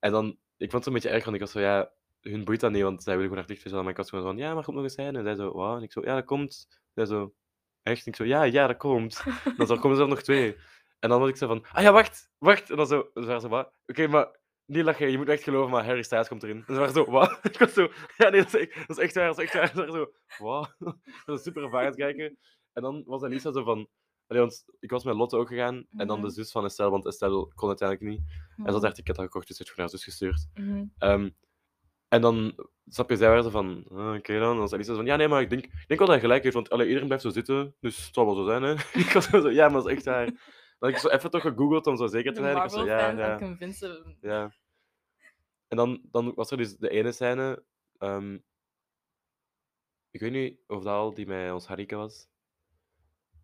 Speaker 2: En dan, ik vond het een beetje erg, want ik was zo, ja, hun boeit dat niet, want zij willen gewoon naar het lichtfestival. Maar ik was gewoon van, ja, maar komt nog eens zijn. En zij zo, wauw. En ik zo, ja, dat komt. Zij zo, echt? En ik zo, ja, ja, dat komt. En dan zo, komen er zelf nog twee. En dan was ik zo van, ah ja, wacht, wacht. En dan zo, ze waren zo, wat? Oké, maar Niet lachen, je moet echt geloven, maar Harry Styles komt erin. Dat was zo, wat? [laughs] Ik was zo, ja nee, dat is echt, dat is echt waar, dat is echt waar. Ik was echt zo, wat? [laughs] Dat is super ervaren aan het kijken. En dan was Elisa zo van, allee, want ik was met Lotte ook gegaan, en dan de
Speaker 3: Mhm.
Speaker 2: zus van Estelle, want Estelle kon uiteindelijk niet. En ze had haar ticket al gekocht, dus heeft gewoon haar zus gestuurd.
Speaker 3: mhm.
Speaker 2: Ehm, en dan, snap je, zij waren zo van, ah, oké dan. En dan zei Lisa zo van, ja nee, maar ik denk, ik denk wel dat hij gelijk heeft, want allee, iedereen blijft zo zitten, dus het zal wel zo zijn, hè. [laughs] ik was zo, ja, maar dat is echt haar. Dan had ik zo even toch gegoogeld om zo zeker te zijn. Ik was zo, ja,
Speaker 3: Marvel-fan
Speaker 2: ja.
Speaker 3: en convincen.
Speaker 2: Ja. En dan, dan was er dus de ene scène. ehm, ik weet niet of dat al die bij ons Harike was.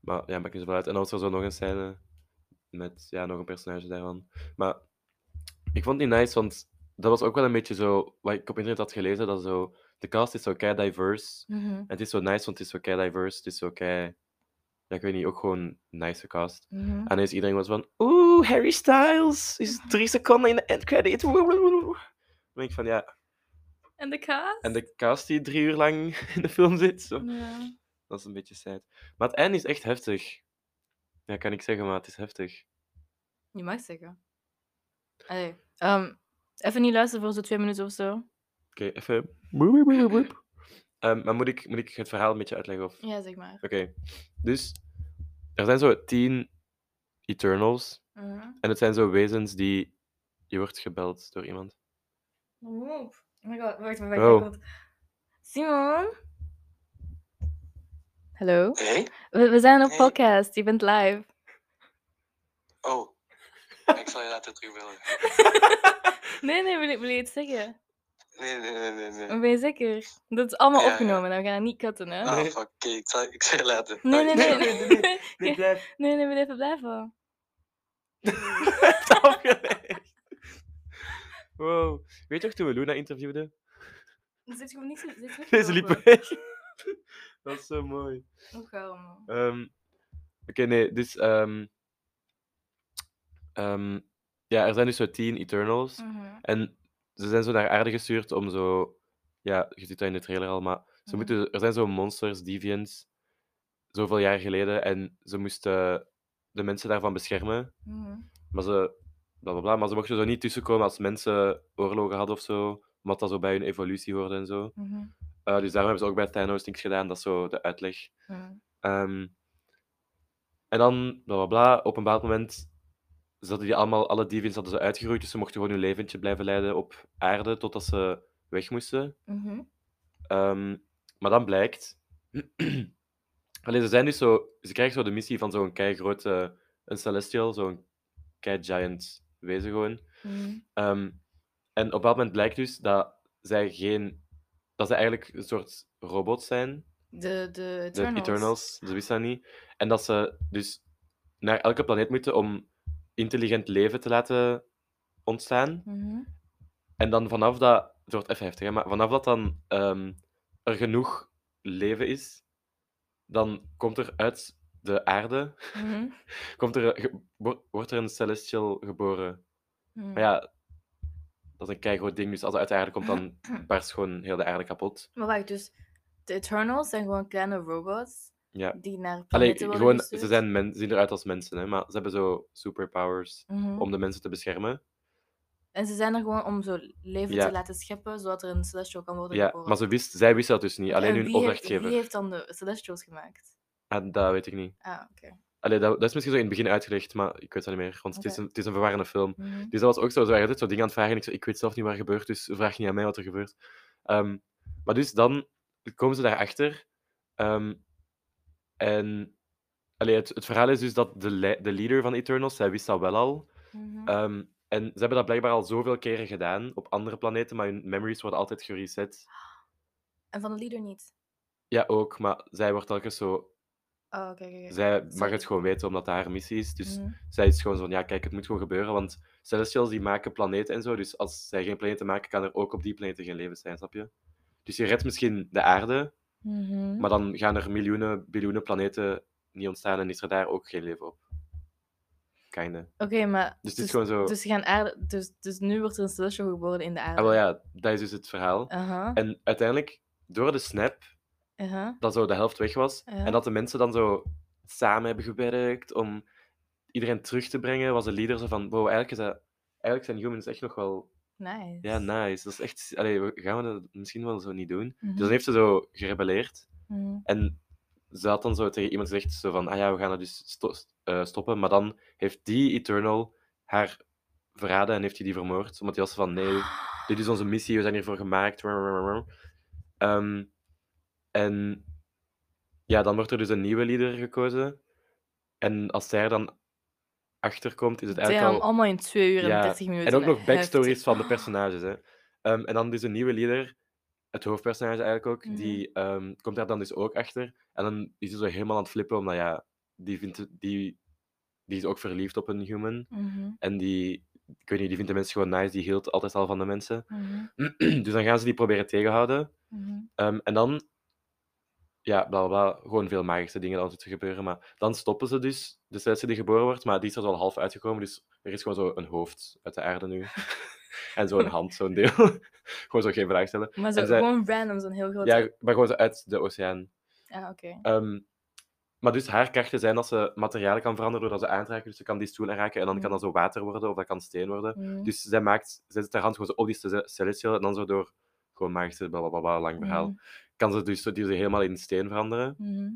Speaker 2: Maar ja, maakt niet zoveel uit. En dan was er zo nog een scène met ja, nog een personage daarvan. Maar ik vond het niet nice, want dat was ook wel een beetje zo... Wat ik op internet had gelezen, dat zo... De cast is zo kei diverse.
Speaker 3: Mhm,
Speaker 2: En het is zo nice, want het is zo kei diverse. Het is zo kei... Ja, ik weet niet, ook gewoon een nice cast.
Speaker 3: mhm.
Speaker 2: En ineens iedereen was van, oeh, Harry Styles is drie seconden in de endcredit. woe, woe, woe, woe." Dan denk ik van, ja,
Speaker 3: En de kaas?
Speaker 2: en de cast die drie uur lang [laughs] in de film zit. Zo.
Speaker 3: Ja.
Speaker 2: Dat is een beetje sad. Maar het einde is echt heftig. Ja, kan ik zeggen, maar het is heftig.
Speaker 3: Je mag zeggen. Allee, ehm, even niet luisteren voor zo'n twee minuten of zo.
Speaker 2: Oké, even... woep, woep, woep, woep. Ehm, maar moet ik, moet ik het verhaal een beetje uitleggen? Of...
Speaker 3: Ja, zeg maar.
Speaker 2: Oké, dus er zijn zo tien Eternals.
Speaker 3: Mhm.
Speaker 2: En het zijn zo wezens die... Je wordt gebeld door iemand.
Speaker 3: Woep. Oh my god, wacht, wacht, wacht.
Speaker 2: Oh.
Speaker 3: wacht. Simon? Hallo?
Speaker 4: Hey?
Speaker 3: We, we zijn op
Speaker 4: Hey.
Speaker 3: podcast, je bent live.
Speaker 4: Oh. ik zal je later terugbellen.
Speaker 3: Nee, nee, wil je, wil je iets zeggen?
Speaker 4: Nee, nee, nee, nee. nee.
Speaker 3: Ben je zeker? Dat is allemaal
Speaker 4: Ja, ja.
Speaker 3: opgenomen, dan we gaan het niet cutten, hè?
Speaker 4: Ah, fuck. Oké, ik, zal, ik zal je later.
Speaker 3: Nee, nee,
Speaker 4: Bye.
Speaker 3: nee. Nee, nee, [laughs] nee.
Speaker 2: Nee, blijf.
Speaker 3: wil even blijven.
Speaker 2: Het afgelegd. Wow. Weet je nog toen we Luna interviewden?
Speaker 3: Zit gewoon niks in
Speaker 2: Deze liep weg. [laughs] Dat is zo mooi.
Speaker 3: Hoe gauw, Oh, man.
Speaker 2: Ehm, Oké, nee, dus... ehm, ehm, ja, er zijn dus zo tien Eternals.
Speaker 3: Mhm,
Speaker 2: En ze zijn zo naar aarde gestuurd om zo... Ja, je ziet dat in de trailer al, maar
Speaker 3: Mhm.
Speaker 2: ze moeten, er zijn zo monsters, deviants, zoveel jaar geleden. En ze moesten de mensen daarvan beschermen.
Speaker 3: mhm.
Speaker 2: Maar ze, bla bla bla, maar ze mochten zo niet tussenkomen als mensen oorlogen hadden of zo. Omdat dat zo bij hun evolutie hoorde en zo.
Speaker 3: mhm,
Speaker 2: Eh, dus daarom hebben ze ook bij Thanos niks gedaan, dat is zo de uitleg.
Speaker 3: mhm.
Speaker 2: Ehm, en dan, bla bla bla, op een bepaald moment zaten die allemaal, alle deviants hadden ze uitgeroeid. Dus ze mochten gewoon hun leventje blijven leiden op aarde totdat ze weg moesten.
Speaker 3: Mhm.
Speaker 2: Ehm, maar dan blijkt. [clears throat] Alleen ze zijn dus zo. Ze krijgen zo de missie van zo'n kei grote. Een celestial, zo'n kei giant wezen gewoon.
Speaker 3: Mhm.
Speaker 2: Ehm, en op dat moment blijkt dus dat zij geen. dat zij eigenlijk een soort robots zijn.
Speaker 3: De, de
Speaker 2: De
Speaker 3: Eternals.
Speaker 2: Eternals, ze wisten dat niet. En dat ze dus naar elke planeet moeten om intelligent leven te laten ontstaan.
Speaker 3: Mhm.
Speaker 2: En dan vanaf dat, het wordt even heftig, hè, maar vanaf dat dan ehm, er genoeg leven is, dan komt er uit de aarde, [laughs]
Speaker 3: Mhm.
Speaker 2: komt er, eh, ge- wo- wordt er een celestial geboren.
Speaker 3: Mhm.
Speaker 2: Maar ja, dat is een keigroot ding, dus als het uit de aarde komt,
Speaker 3: [clears throat]
Speaker 2: dan barst gewoon heel de aarde kapot.
Speaker 3: Maar wacht, dus de Eternals zijn gewoon kleine robots
Speaker 2: Ja.
Speaker 3: die naar
Speaker 2: Allee,
Speaker 3: planeten worden
Speaker 2: gewoon, ze
Speaker 3: gestuurd?
Speaker 2: zijn men, zien eruit als mensen, hè, maar ze hebben zo superpowers
Speaker 3: Mhm.
Speaker 2: om de mensen te beschermen.
Speaker 3: En ze zijn er gewoon om zo leven
Speaker 2: Ja.
Speaker 3: te laten scheppen, zodat er een Celestial kan worden
Speaker 2: Ja,
Speaker 3: geboren.
Speaker 2: maar ze wist, zij wisten dat dus niet, alleen
Speaker 3: En
Speaker 2: hun
Speaker 3: wie heeft-
Speaker 2: opdrachtgever.
Speaker 3: Wie heeft dan de Celestials gemaakt?
Speaker 2: Ah, dat weet ik niet.
Speaker 3: Ah, oké.
Speaker 2: Allee, dat, dat is misschien zo in het begin uitgelegd, maar ik weet dat niet meer, want het, is
Speaker 3: Oké.
Speaker 2: een, het is een verwarrende film.
Speaker 3: Mhm.
Speaker 2: Dus dat was ook zo, zo altijd zo dingen aan het vragen. en Ik, zo, ik weet zelf niet waar gebeurt, dus vraag niet aan mij wat er gebeurt. Ehm, maar dus dan komen ze daarachter. ehm en allee, het, het verhaal is dus dat de, le- de leader van Eternals, zij wist dat wel al.
Speaker 3: Mhm.
Speaker 2: Ehm, en ze hebben dat blijkbaar al zoveel keren gedaan op andere planeten, maar hun memories worden altijd gereset.
Speaker 3: En van de leader niet?
Speaker 2: Ja, ook, maar zij wordt telkens zo...
Speaker 3: Oh, oké, oké. oké.
Speaker 2: Zij mag
Speaker 3: Sorry.
Speaker 2: het gewoon weten, omdat dat haar missie is. Dus
Speaker 3: Mhm.
Speaker 2: zij is gewoon zo van, ja, kijk, het moet gewoon gebeuren, want celestials die maken planeten en zo, dus als zij geen planeten maken, kan er ook op die planeten geen leven zijn, snap je? Dus je redt misschien de aarde,
Speaker 3: Mhm.
Speaker 2: maar dan gaan er miljoenen, biljoenen planeten niet ontstaan en is er daar ook geen leven op. Kinda.
Speaker 3: Oké, maar...
Speaker 2: Dus het is gewoon zo-
Speaker 3: Dus, ze gaan aarde, dus, dus nu wordt er een Celestial geboren in de aarde. Uh-huh,
Speaker 2: Ah, wel ja, dat is dus het verhaal.
Speaker 3: Aha,
Speaker 2: En uiteindelijk, door de snap,
Speaker 3: aha.
Speaker 2: dat zo de helft weg was,
Speaker 3: Ja.
Speaker 2: en dat de mensen dan zo samen hebben gewerkt om iedereen terug te brengen, was de leader zo van, wow, eigenlijk is dat eigenlijk zijn humans echt nog wel
Speaker 3: Nice.
Speaker 2: ja, nice. Dat is echt, allee, we- gaan we dat misschien wel zo niet doen?
Speaker 3: Mhm.
Speaker 2: Dus dan heeft ze zo gerebelleerd.
Speaker 3: Mhm.
Speaker 2: En ze had dan zo tegen iemand gezegd, zo van, ah ja, we gaan dat dus sto- eh, stoppen. Maar dan heeft die Eternal haar verraden en heeft hij die vermoord. Omdat hij was van, nee, dus dit is onze missie, we zijn hiervoor gemaakt. Ehm, en ja, dan wordt er dus een nieuwe leader gekozen. En als zij er dan achterkomt, is het eigenlijk
Speaker 3: Damn,
Speaker 2: al...
Speaker 3: allemaal in 2 uur
Speaker 2: Ja,
Speaker 3: en 30 minuten.
Speaker 2: En ook nog backstories
Speaker 3: Heftig. [laughs]
Speaker 2: van de personages. Hè. Ehm, en dan dus een nieuwe leader, het hoofdpersonage eigenlijk ook,
Speaker 3: Mhm.
Speaker 2: die ehm, komt daar dan dus ook achter. En dan is hij zo helemaal aan het flippen, omdat ja, die, vindt, het- die, die is ook verliefd op een human.
Speaker 3: Mhm,
Speaker 2: En die, ik weet niet, die vindt de mensen gewoon nice, die hield altijd al van de mensen. [clears throat]
Speaker 3: mhm,
Speaker 2: dus dan gaan ze die proberen tegenhouden.
Speaker 3: mhm.
Speaker 2: Ehm, en dan, ja, bla bla bla, gewoon veel magische dingen die altijd gebeuren. Maar dan stoppen ze dus, de sessie die geboren wordt, maar die is er al half uitgekomen. Dus er is gewoon zo een hoofd uit de aarde nu. en zo'n hand, zo'n deel. [laughs] gewoon zo geen vraag stellen.
Speaker 3: Maar zo,
Speaker 2: zij-
Speaker 3: gewoon random, zo'n heel groot.
Speaker 2: Ja, maar gewoon zo uit de oceaan.
Speaker 3: Ah, oké.
Speaker 2: Ehm, maar dus haar krachten zijn dat ze materialen kan veranderen doordat ze aanraken. Dus ze kan die stoel aanraken en dan kan
Speaker 3: Mhm.
Speaker 2: dat zo water worden of dat kan steen worden.
Speaker 3: Mhm.
Speaker 2: Dus zij maakt, zij zet haar hand gewoon zo op die ce- celestial en dan zo door gewoon magische blablabla, lang verhaal.
Speaker 3: Mhm.
Speaker 2: Kan ze dus zo- die ze helemaal in steen veranderen.
Speaker 3: Mhm.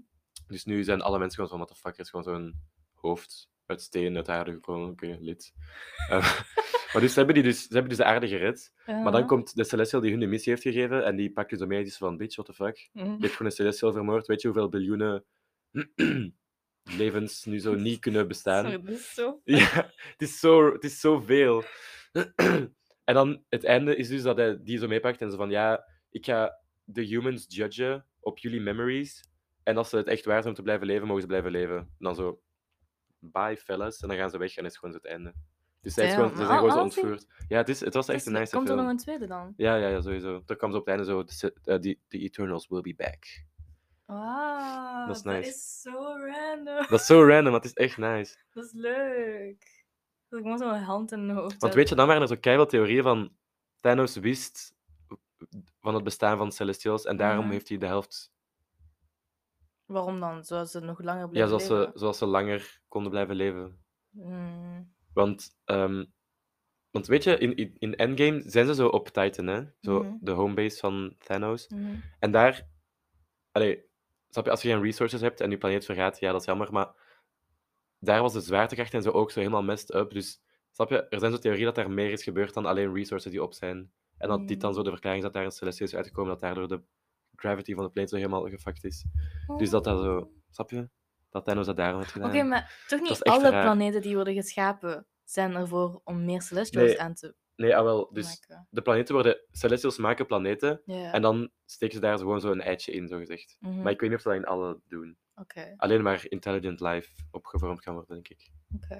Speaker 2: Dus nu zijn alle mensen gewoon van, what the fuck, er is gewoon zo'n hoofd uit steen uit de aarde gekomen, oké, lid. [laughs] Ehm, maar dus ze hebben, die dus ze hebben dus de aarde gered. Maar dan
Speaker 3: Ja.
Speaker 2: komt de Celestial die hun de missie heeft gegeven en die pakt dus mee en die is van, bitch, what the fuck. Je
Speaker 3: Mhm.
Speaker 2: hebt gewoon een Celestial vermoord, weet je hoeveel biljoenen [clears throat] levens nu zo niet kunnen bestaan?
Speaker 3: Sorry, dat is zo.
Speaker 2: [laughs] Ja, het is, zo, het is zoveel. [clears throat] en dan het einde is dus dat hij die zo meepakt en zo van ja, ik ga de humans judgen op jullie memories. En als ze het echt waard zijn om te blijven leven, mogen ze blijven leven. En dan zo, bye fellas. En dan gaan ze weg en is gewoon zo het einde. Dus zij is gewoon,
Speaker 3: Damn,
Speaker 2: ze zijn
Speaker 3: maar
Speaker 2: gewoon zo
Speaker 3: alles in-
Speaker 2: ontvoerd. Ja, het, is, het was echt
Speaker 3: Dus
Speaker 2: een nice
Speaker 3: Komt er nog
Speaker 2: film.
Speaker 3: een tweede dan?
Speaker 2: Ja, ja, ja, sowieso. Dan kwam ze op het einde zo, de Eternals will be back.
Speaker 3: Wow,
Speaker 2: Dat is nice.
Speaker 3: is zo random. [laughs]
Speaker 2: Dat is zo random, maar het is echt nice.
Speaker 3: Dat is leuk. Dat ik gewoon zo'n hand in mijn hoofd
Speaker 2: Want
Speaker 3: heb.
Speaker 2: weet je, dan waren er zo keihard theorieën van Thanos wist van het bestaan van Celestials en daarom
Speaker 3: Mhm.
Speaker 2: heeft hij de helft,
Speaker 3: Waarom dan? Zodat ze nog langer
Speaker 2: ja,
Speaker 3: blijven
Speaker 2: zoals ze,
Speaker 3: leven?
Speaker 2: zoals ze langer konden blijven leven.
Speaker 3: Mm,
Speaker 2: Want, ehm, want weet je, in, in, in Endgame zijn ze zo op Titan, hè? Zo
Speaker 3: Mhm.
Speaker 2: de homebase van Thanos.
Speaker 3: mhm.
Speaker 2: En daar, allee, snap je, als je geen resources hebt en je planeet vergaat, ja, dat is jammer, maar daar was de zwaartekracht en zo ook zo helemaal messed up. Dus snap je, er zijn zo theorieën dat daar meer is gebeurd dan alleen resources die op zijn. En dat dit dan
Speaker 3: Mm.
Speaker 2: zo de verklaring is dat daar een celestie is uitgekomen, dat daardoor de gravity van de planeet zo helemaal gefakt is. Dus dat dat zo, snap je? Dat Thanos dat daarom heeft
Speaker 3: Oké,
Speaker 2: gedaan.
Speaker 3: maar toch
Speaker 2: is
Speaker 3: niet
Speaker 2: echt
Speaker 3: alle
Speaker 2: raar.
Speaker 3: planeten die worden geschapen zijn ervoor om meer celestials
Speaker 2: Nee,
Speaker 3: aan te
Speaker 2: Nee, ah, wel, dus
Speaker 3: maken.
Speaker 2: de planeten worden, celestials maken planeten
Speaker 3: Oh Ja.
Speaker 2: en dan steken ze daar zo gewoon zo een eitje in, zo gezegd.
Speaker 3: Mhm,
Speaker 2: Maar ik weet niet of ze dat in alle doen.
Speaker 3: Oké,
Speaker 2: Alleen maar intelligent life opgevormd kan worden, denk ik.
Speaker 3: oké.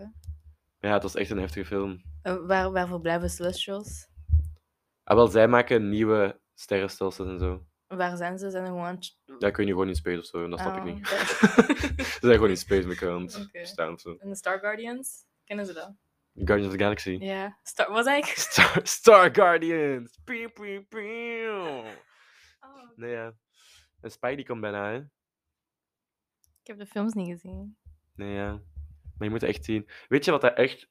Speaker 2: Maar ja, het was echt een heftige film.
Speaker 3: Eh, waar- Waarvoor blijven celestials?
Speaker 2: Ah, wel, zij maken nieuwe sterrenstelsels en zo.
Speaker 3: Waar zijn ze? Zijn ze gewoon... aan het-
Speaker 2: Ja, kun je gewoon in space of zo, en dat snap ik
Speaker 3: Ah, [laughs]
Speaker 2: niet.
Speaker 3: oké.
Speaker 2: Ze zijn gewoon in space met elkaar aan het
Speaker 3: Oké.
Speaker 2: bestaan of zo.
Speaker 3: En de Star Guardians? Kennen ze dat?
Speaker 2: Guardians of the Galaxy.
Speaker 3: Ja, Star was eigenlijk.
Speaker 2: [laughs] Star, Star Guardians! Pew, pew, pew.
Speaker 3: Oh,
Speaker 2: Nee, ja. En Spidey komt bijna, hè?
Speaker 3: ik heb de films niet gezien.
Speaker 2: Nee, ja. Maar je moet het echt zien. Weet je wat dat echt,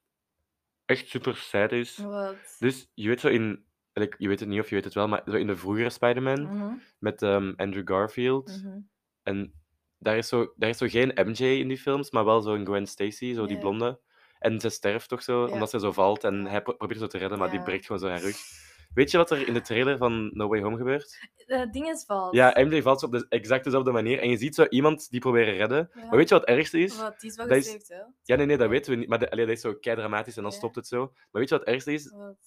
Speaker 2: echt super sad is?
Speaker 3: Oh. Wat?
Speaker 2: Dus je weet zo in... en ik- Je weet het niet of je weet het wel, maar zo in de vroegere Spider-Man
Speaker 3: Mhm,
Speaker 2: met ehm, Andrew Garfield.
Speaker 3: mhm.
Speaker 2: En daar is, zo, daar is zo geen MJ in die films, maar wel zo'n Gwen Stacy, zo die
Speaker 3: Ja.
Speaker 2: blonde. En ze sterft toch zo,
Speaker 3: Ja.
Speaker 2: omdat ze zo valt. En hij pro- probeert zo te redden, maar die
Speaker 3: Ja.
Speaker 2: breekt gewoon zo haar rug. Weet je wat er in de trailer van No Way Home gebeurt?
Speaker 3: Eh, ding is vals.
Speaker 2: Ja, MJ valt zo op de exact dezelfde manier. En je ziet zo iemand die proberen redden.
Speaker 3: Ja.
Speaker 2: Maar weet je wat het ergste is?
Speaker 3: Wat, die is wel
Speaker 2: dat is-
Speaker 3: gesaved, hè?
Speaker 2: Ja, nee, nee, dat weten we niet. Maar de, allee, dat is zo kei dramatisch en dan
Speaker 3: Ja.
Speaker 2: stopt het zo. Maar weet je wat het ergste is?
Speaker 3: Wat?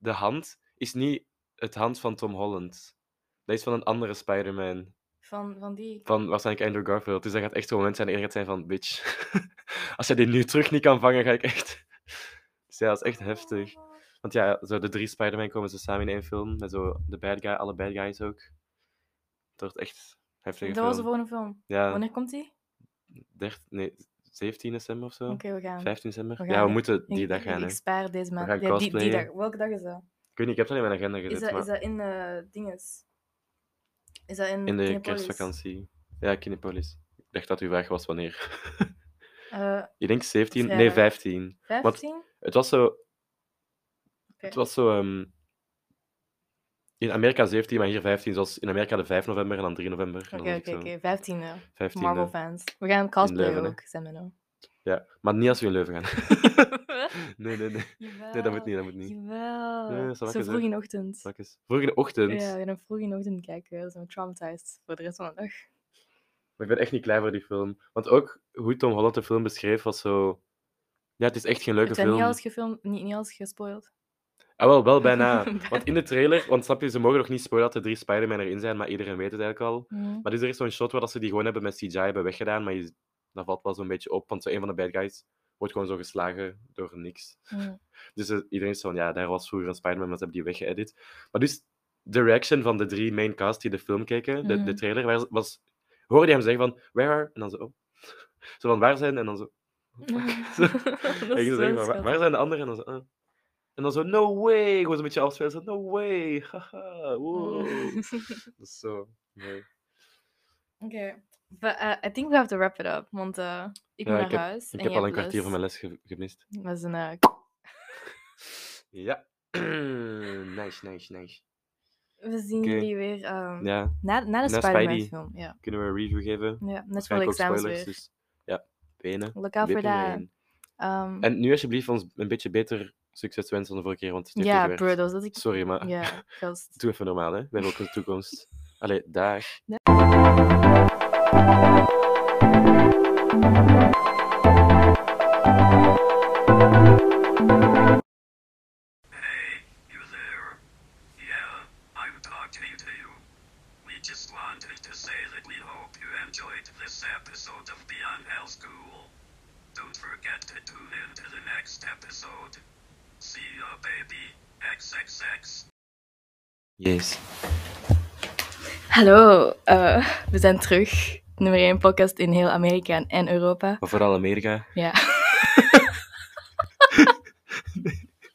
Speaker 2: De hand is niet het hand van Tom Holland. Dat is van een andere Spider-Man.
Speaker 3: Van, van die.
Speaker 2: van waarschijnlijk Andrew Garfield. Dus dat gaat echt zo'n moment zijn dat je gaat zijn van, bitch, [laughs] als jij die nu terug niet kan vangen, ga ik echt... [laughs] Dus ja, dat is echt heftig. Want ja, zo de drie Spider-Man komen ze samen in één film. Met zo de bad guy, alle bad guys ook. Het wordt echt heftig.
Speaker 3: Dat was de volgende film.
Speaker 2: Ja,
Speaker 3: Wanneer komt die?
Speaker 2: 13, nee, 17 december of zo.
Speaker 3: Oké, we gaan.
Speaker 2: 15 december.
Speaker 3: We
Speaker 2: ja,
Speaker 3: gaan.
Speaker 2: we moeten die
Speaker 3: Ik-
Speaker 2: dag gaan,
Speaker 3: Ik,
Speaker 2: hè.
Speaker 3: ik spaar deze maand.
Speaker 2: gaan
Speaker 3: Ja, die, die
Speaker 2: cosplayen.
Speaker 3: dag. Welke dag is dat?
Speaker 2: Ik weet niet, ik heb dat in mijn agenda gezet,
Speaker 3: Is dat,
Speaker 2: maar
Speaker 3: is dat in eh dinges? Is dat in,
Speaker 2: in de
Speaker 3: Kinepolis?
Speaker 2: kerstvakantie. Ja, Kinepolis. Ik dacht dat uw vraag was wanneer. [laughs]
Speaker 3: Eh,
Speaker 2: ik denk 17, nee,
Speaker 3: Vrijdag.
Speaker 2: 15.
Speaker 3: 15?
Speaker 2: Het was zo. Het was zo. ehm, in Amerika 17, maar hier 15. Zoals in Amerika de 5 november en dan 3 november. en dan
Speaker 3: Oké,
Speaker 2: was ik
Speaker 3: oké,
Speaker 2: zo
Speaker 3: oké. 15 e
Speaker 2: 15e.
Speaker 3: Marvel fans. We gaan cosplayen
Speaker 2: Leuven, hè?
Speaker 3: ook, nou. Semino.
Speaker 2: Ja, maar niet als we in Leuven gaan. [laughs] nee, nee, nee. Nee, dat moet niet, Eh, dat moet
Speaker 3: Ah,
Speaker 2: niet.
Speaker 3: Jawel.
Speaker 2: Nee, dat is wel
Speaker 3: Zo
Speaker 2: lekker,
Speaker 3: vroeg
Speaker 2: hè?
Speaker 3: in de ochtend.
Speaker 2: Zak eens. Vroeg in de ochtend.
Speaker 3: Ja, we gaan vroeg in de ochtend kijken. Dan zijn we traumatized voor de rest van de dag.
Speaker 2: Maar ik ben echt niet klaar voor die film. Want ook hoe Tom Holland de film beschreef was zo... Ja, het is echt geen leuke
Speaker 3: Heb jij niet
Speaker 2: film.
Speaker 3: alles gefilmd, niet, niet alles gespoild?
Speaker 2: Ah, wel, wel
Speaker 3: [laughs]
Speaker 2: bijna. Want in de trailer, want snap je, ze mogen nog niet spoilen dat er drie Spider-Man erin zijn, maar iedereen weet het eigenlijk al.
Speaker 3: Mhm.
Speaker 2: Maar dus er is zo'n shot waar dat ze die gewoon hebben met CGI hebben weggedaan, maar je, dat valt wel zo'n beetje op, want zo een van de bad guys wordt gewoon zo geslagen door niks.
Speaker 3: Mhm.
Speaker 2: [laughs]
Speaker 3: [laughs]
Speaker 2: Dus eh, iedereen is zo van, ja, daar was vroeger een Spider-Man, maar ze hebben die weggeëdit. Maar dus de reaction van de drie main cast die de film keken, de,
Speaker 3: Mhm.
Speaker 2: de trailer, was, was... Hoorde je hem zeggen van, where are... En dan zo, oh. Zo van, waar zijn? En dan
Speaker 3: [laughs]
Speaker 2: zo... oh, fuck. Zo.
Speaker 3: Dat
Speaker 2: En
Speaker 3: is
Speaker 2: ik
Speaker 3: zo
Speaker 2: zeg maar, waar,
Speaker 3: schattig.
Speaker 2: waar zijn de anderen? En dan zo, "Ah." En dan zo, no way! Gewoon zo'n beetje afspelen. Zo, no way! [laughs] Haha,
Speaker 3: Mm.
Speaker 2: wow. Dat is zo mooi.
Speaker 3: Okay. But uh, I think we have to wrap it up, want eh, ik
Speaker 2: Ja,
Speaker 3: moet naar
Speaker 2: ik heb-
Speaker 3: huis.
Speaker 2: Ik
Speaker 3: en
Speaker 2: heb
Speaker 3: jij
Speaker 2: al een
Speaker 3: hebt
Speaker 2: kwartier van
Speaker 3: les.
Speaker 2: mijn les ge- gemist.
Speaker 3: Dat is een eh,
Speaker 2: Ja. [clears throat] nice, nice, nice.
Speaker 3: We zien
Speaker 2: Oké.
Speaker 3: jullie weer ehm,
Speaker 2: Ja,
Speaker 3: na, na de
Speaker 2: Na
Speaker 3: Spider-Man
Speaker 2: Spidey.
Speaker 3: film. Ja,
Speaker 2: kunnen we een review geven?
Speaker 3: ja Mm, net voor de
Speaker 2: Waarschijnlijk ook
Speaker 3: examens
Speaker 2: spoilers,
Speaker 3: weer.
Speaker 2: dus ja, benen.
Speaker 3: Look out for
Speaker 2: wippen
Speaker 3: that.
Speaker 2: erin.
Speaker 3: Ehm,
Speaker 2: En nu alsjeblieft ons een beetje beter succes wensen dan de vorige keer, want het heeft
Speaker 3: ja,
Speaker 2: niet
Speaker 3: bro,
Speaker 2: gewerkt.
Speaker 3: dat was dat ik...
Speaker 2: Sorry, maar [laughs]
Speaker 3: Ja, gast.
Speaker 2: doe even normaal, hè. We hebben ook een toekomst. Allee, dag.
Speaker 4: You there? Yeah, I'm talking to you. We just wanted to say that we hope you enjoyed this episode of Beyond Hell School. Don't forget to tune in to the next episode. See ya, baby. XXX.
Speaker 2: Yes.
Speaker 3: Hallo, eh, we zijn terug. Nummer 1 podcast in heel Amerika en- en Europa.
Speaker 2: Maar vooral Amerika.
Speaker 3: Ja.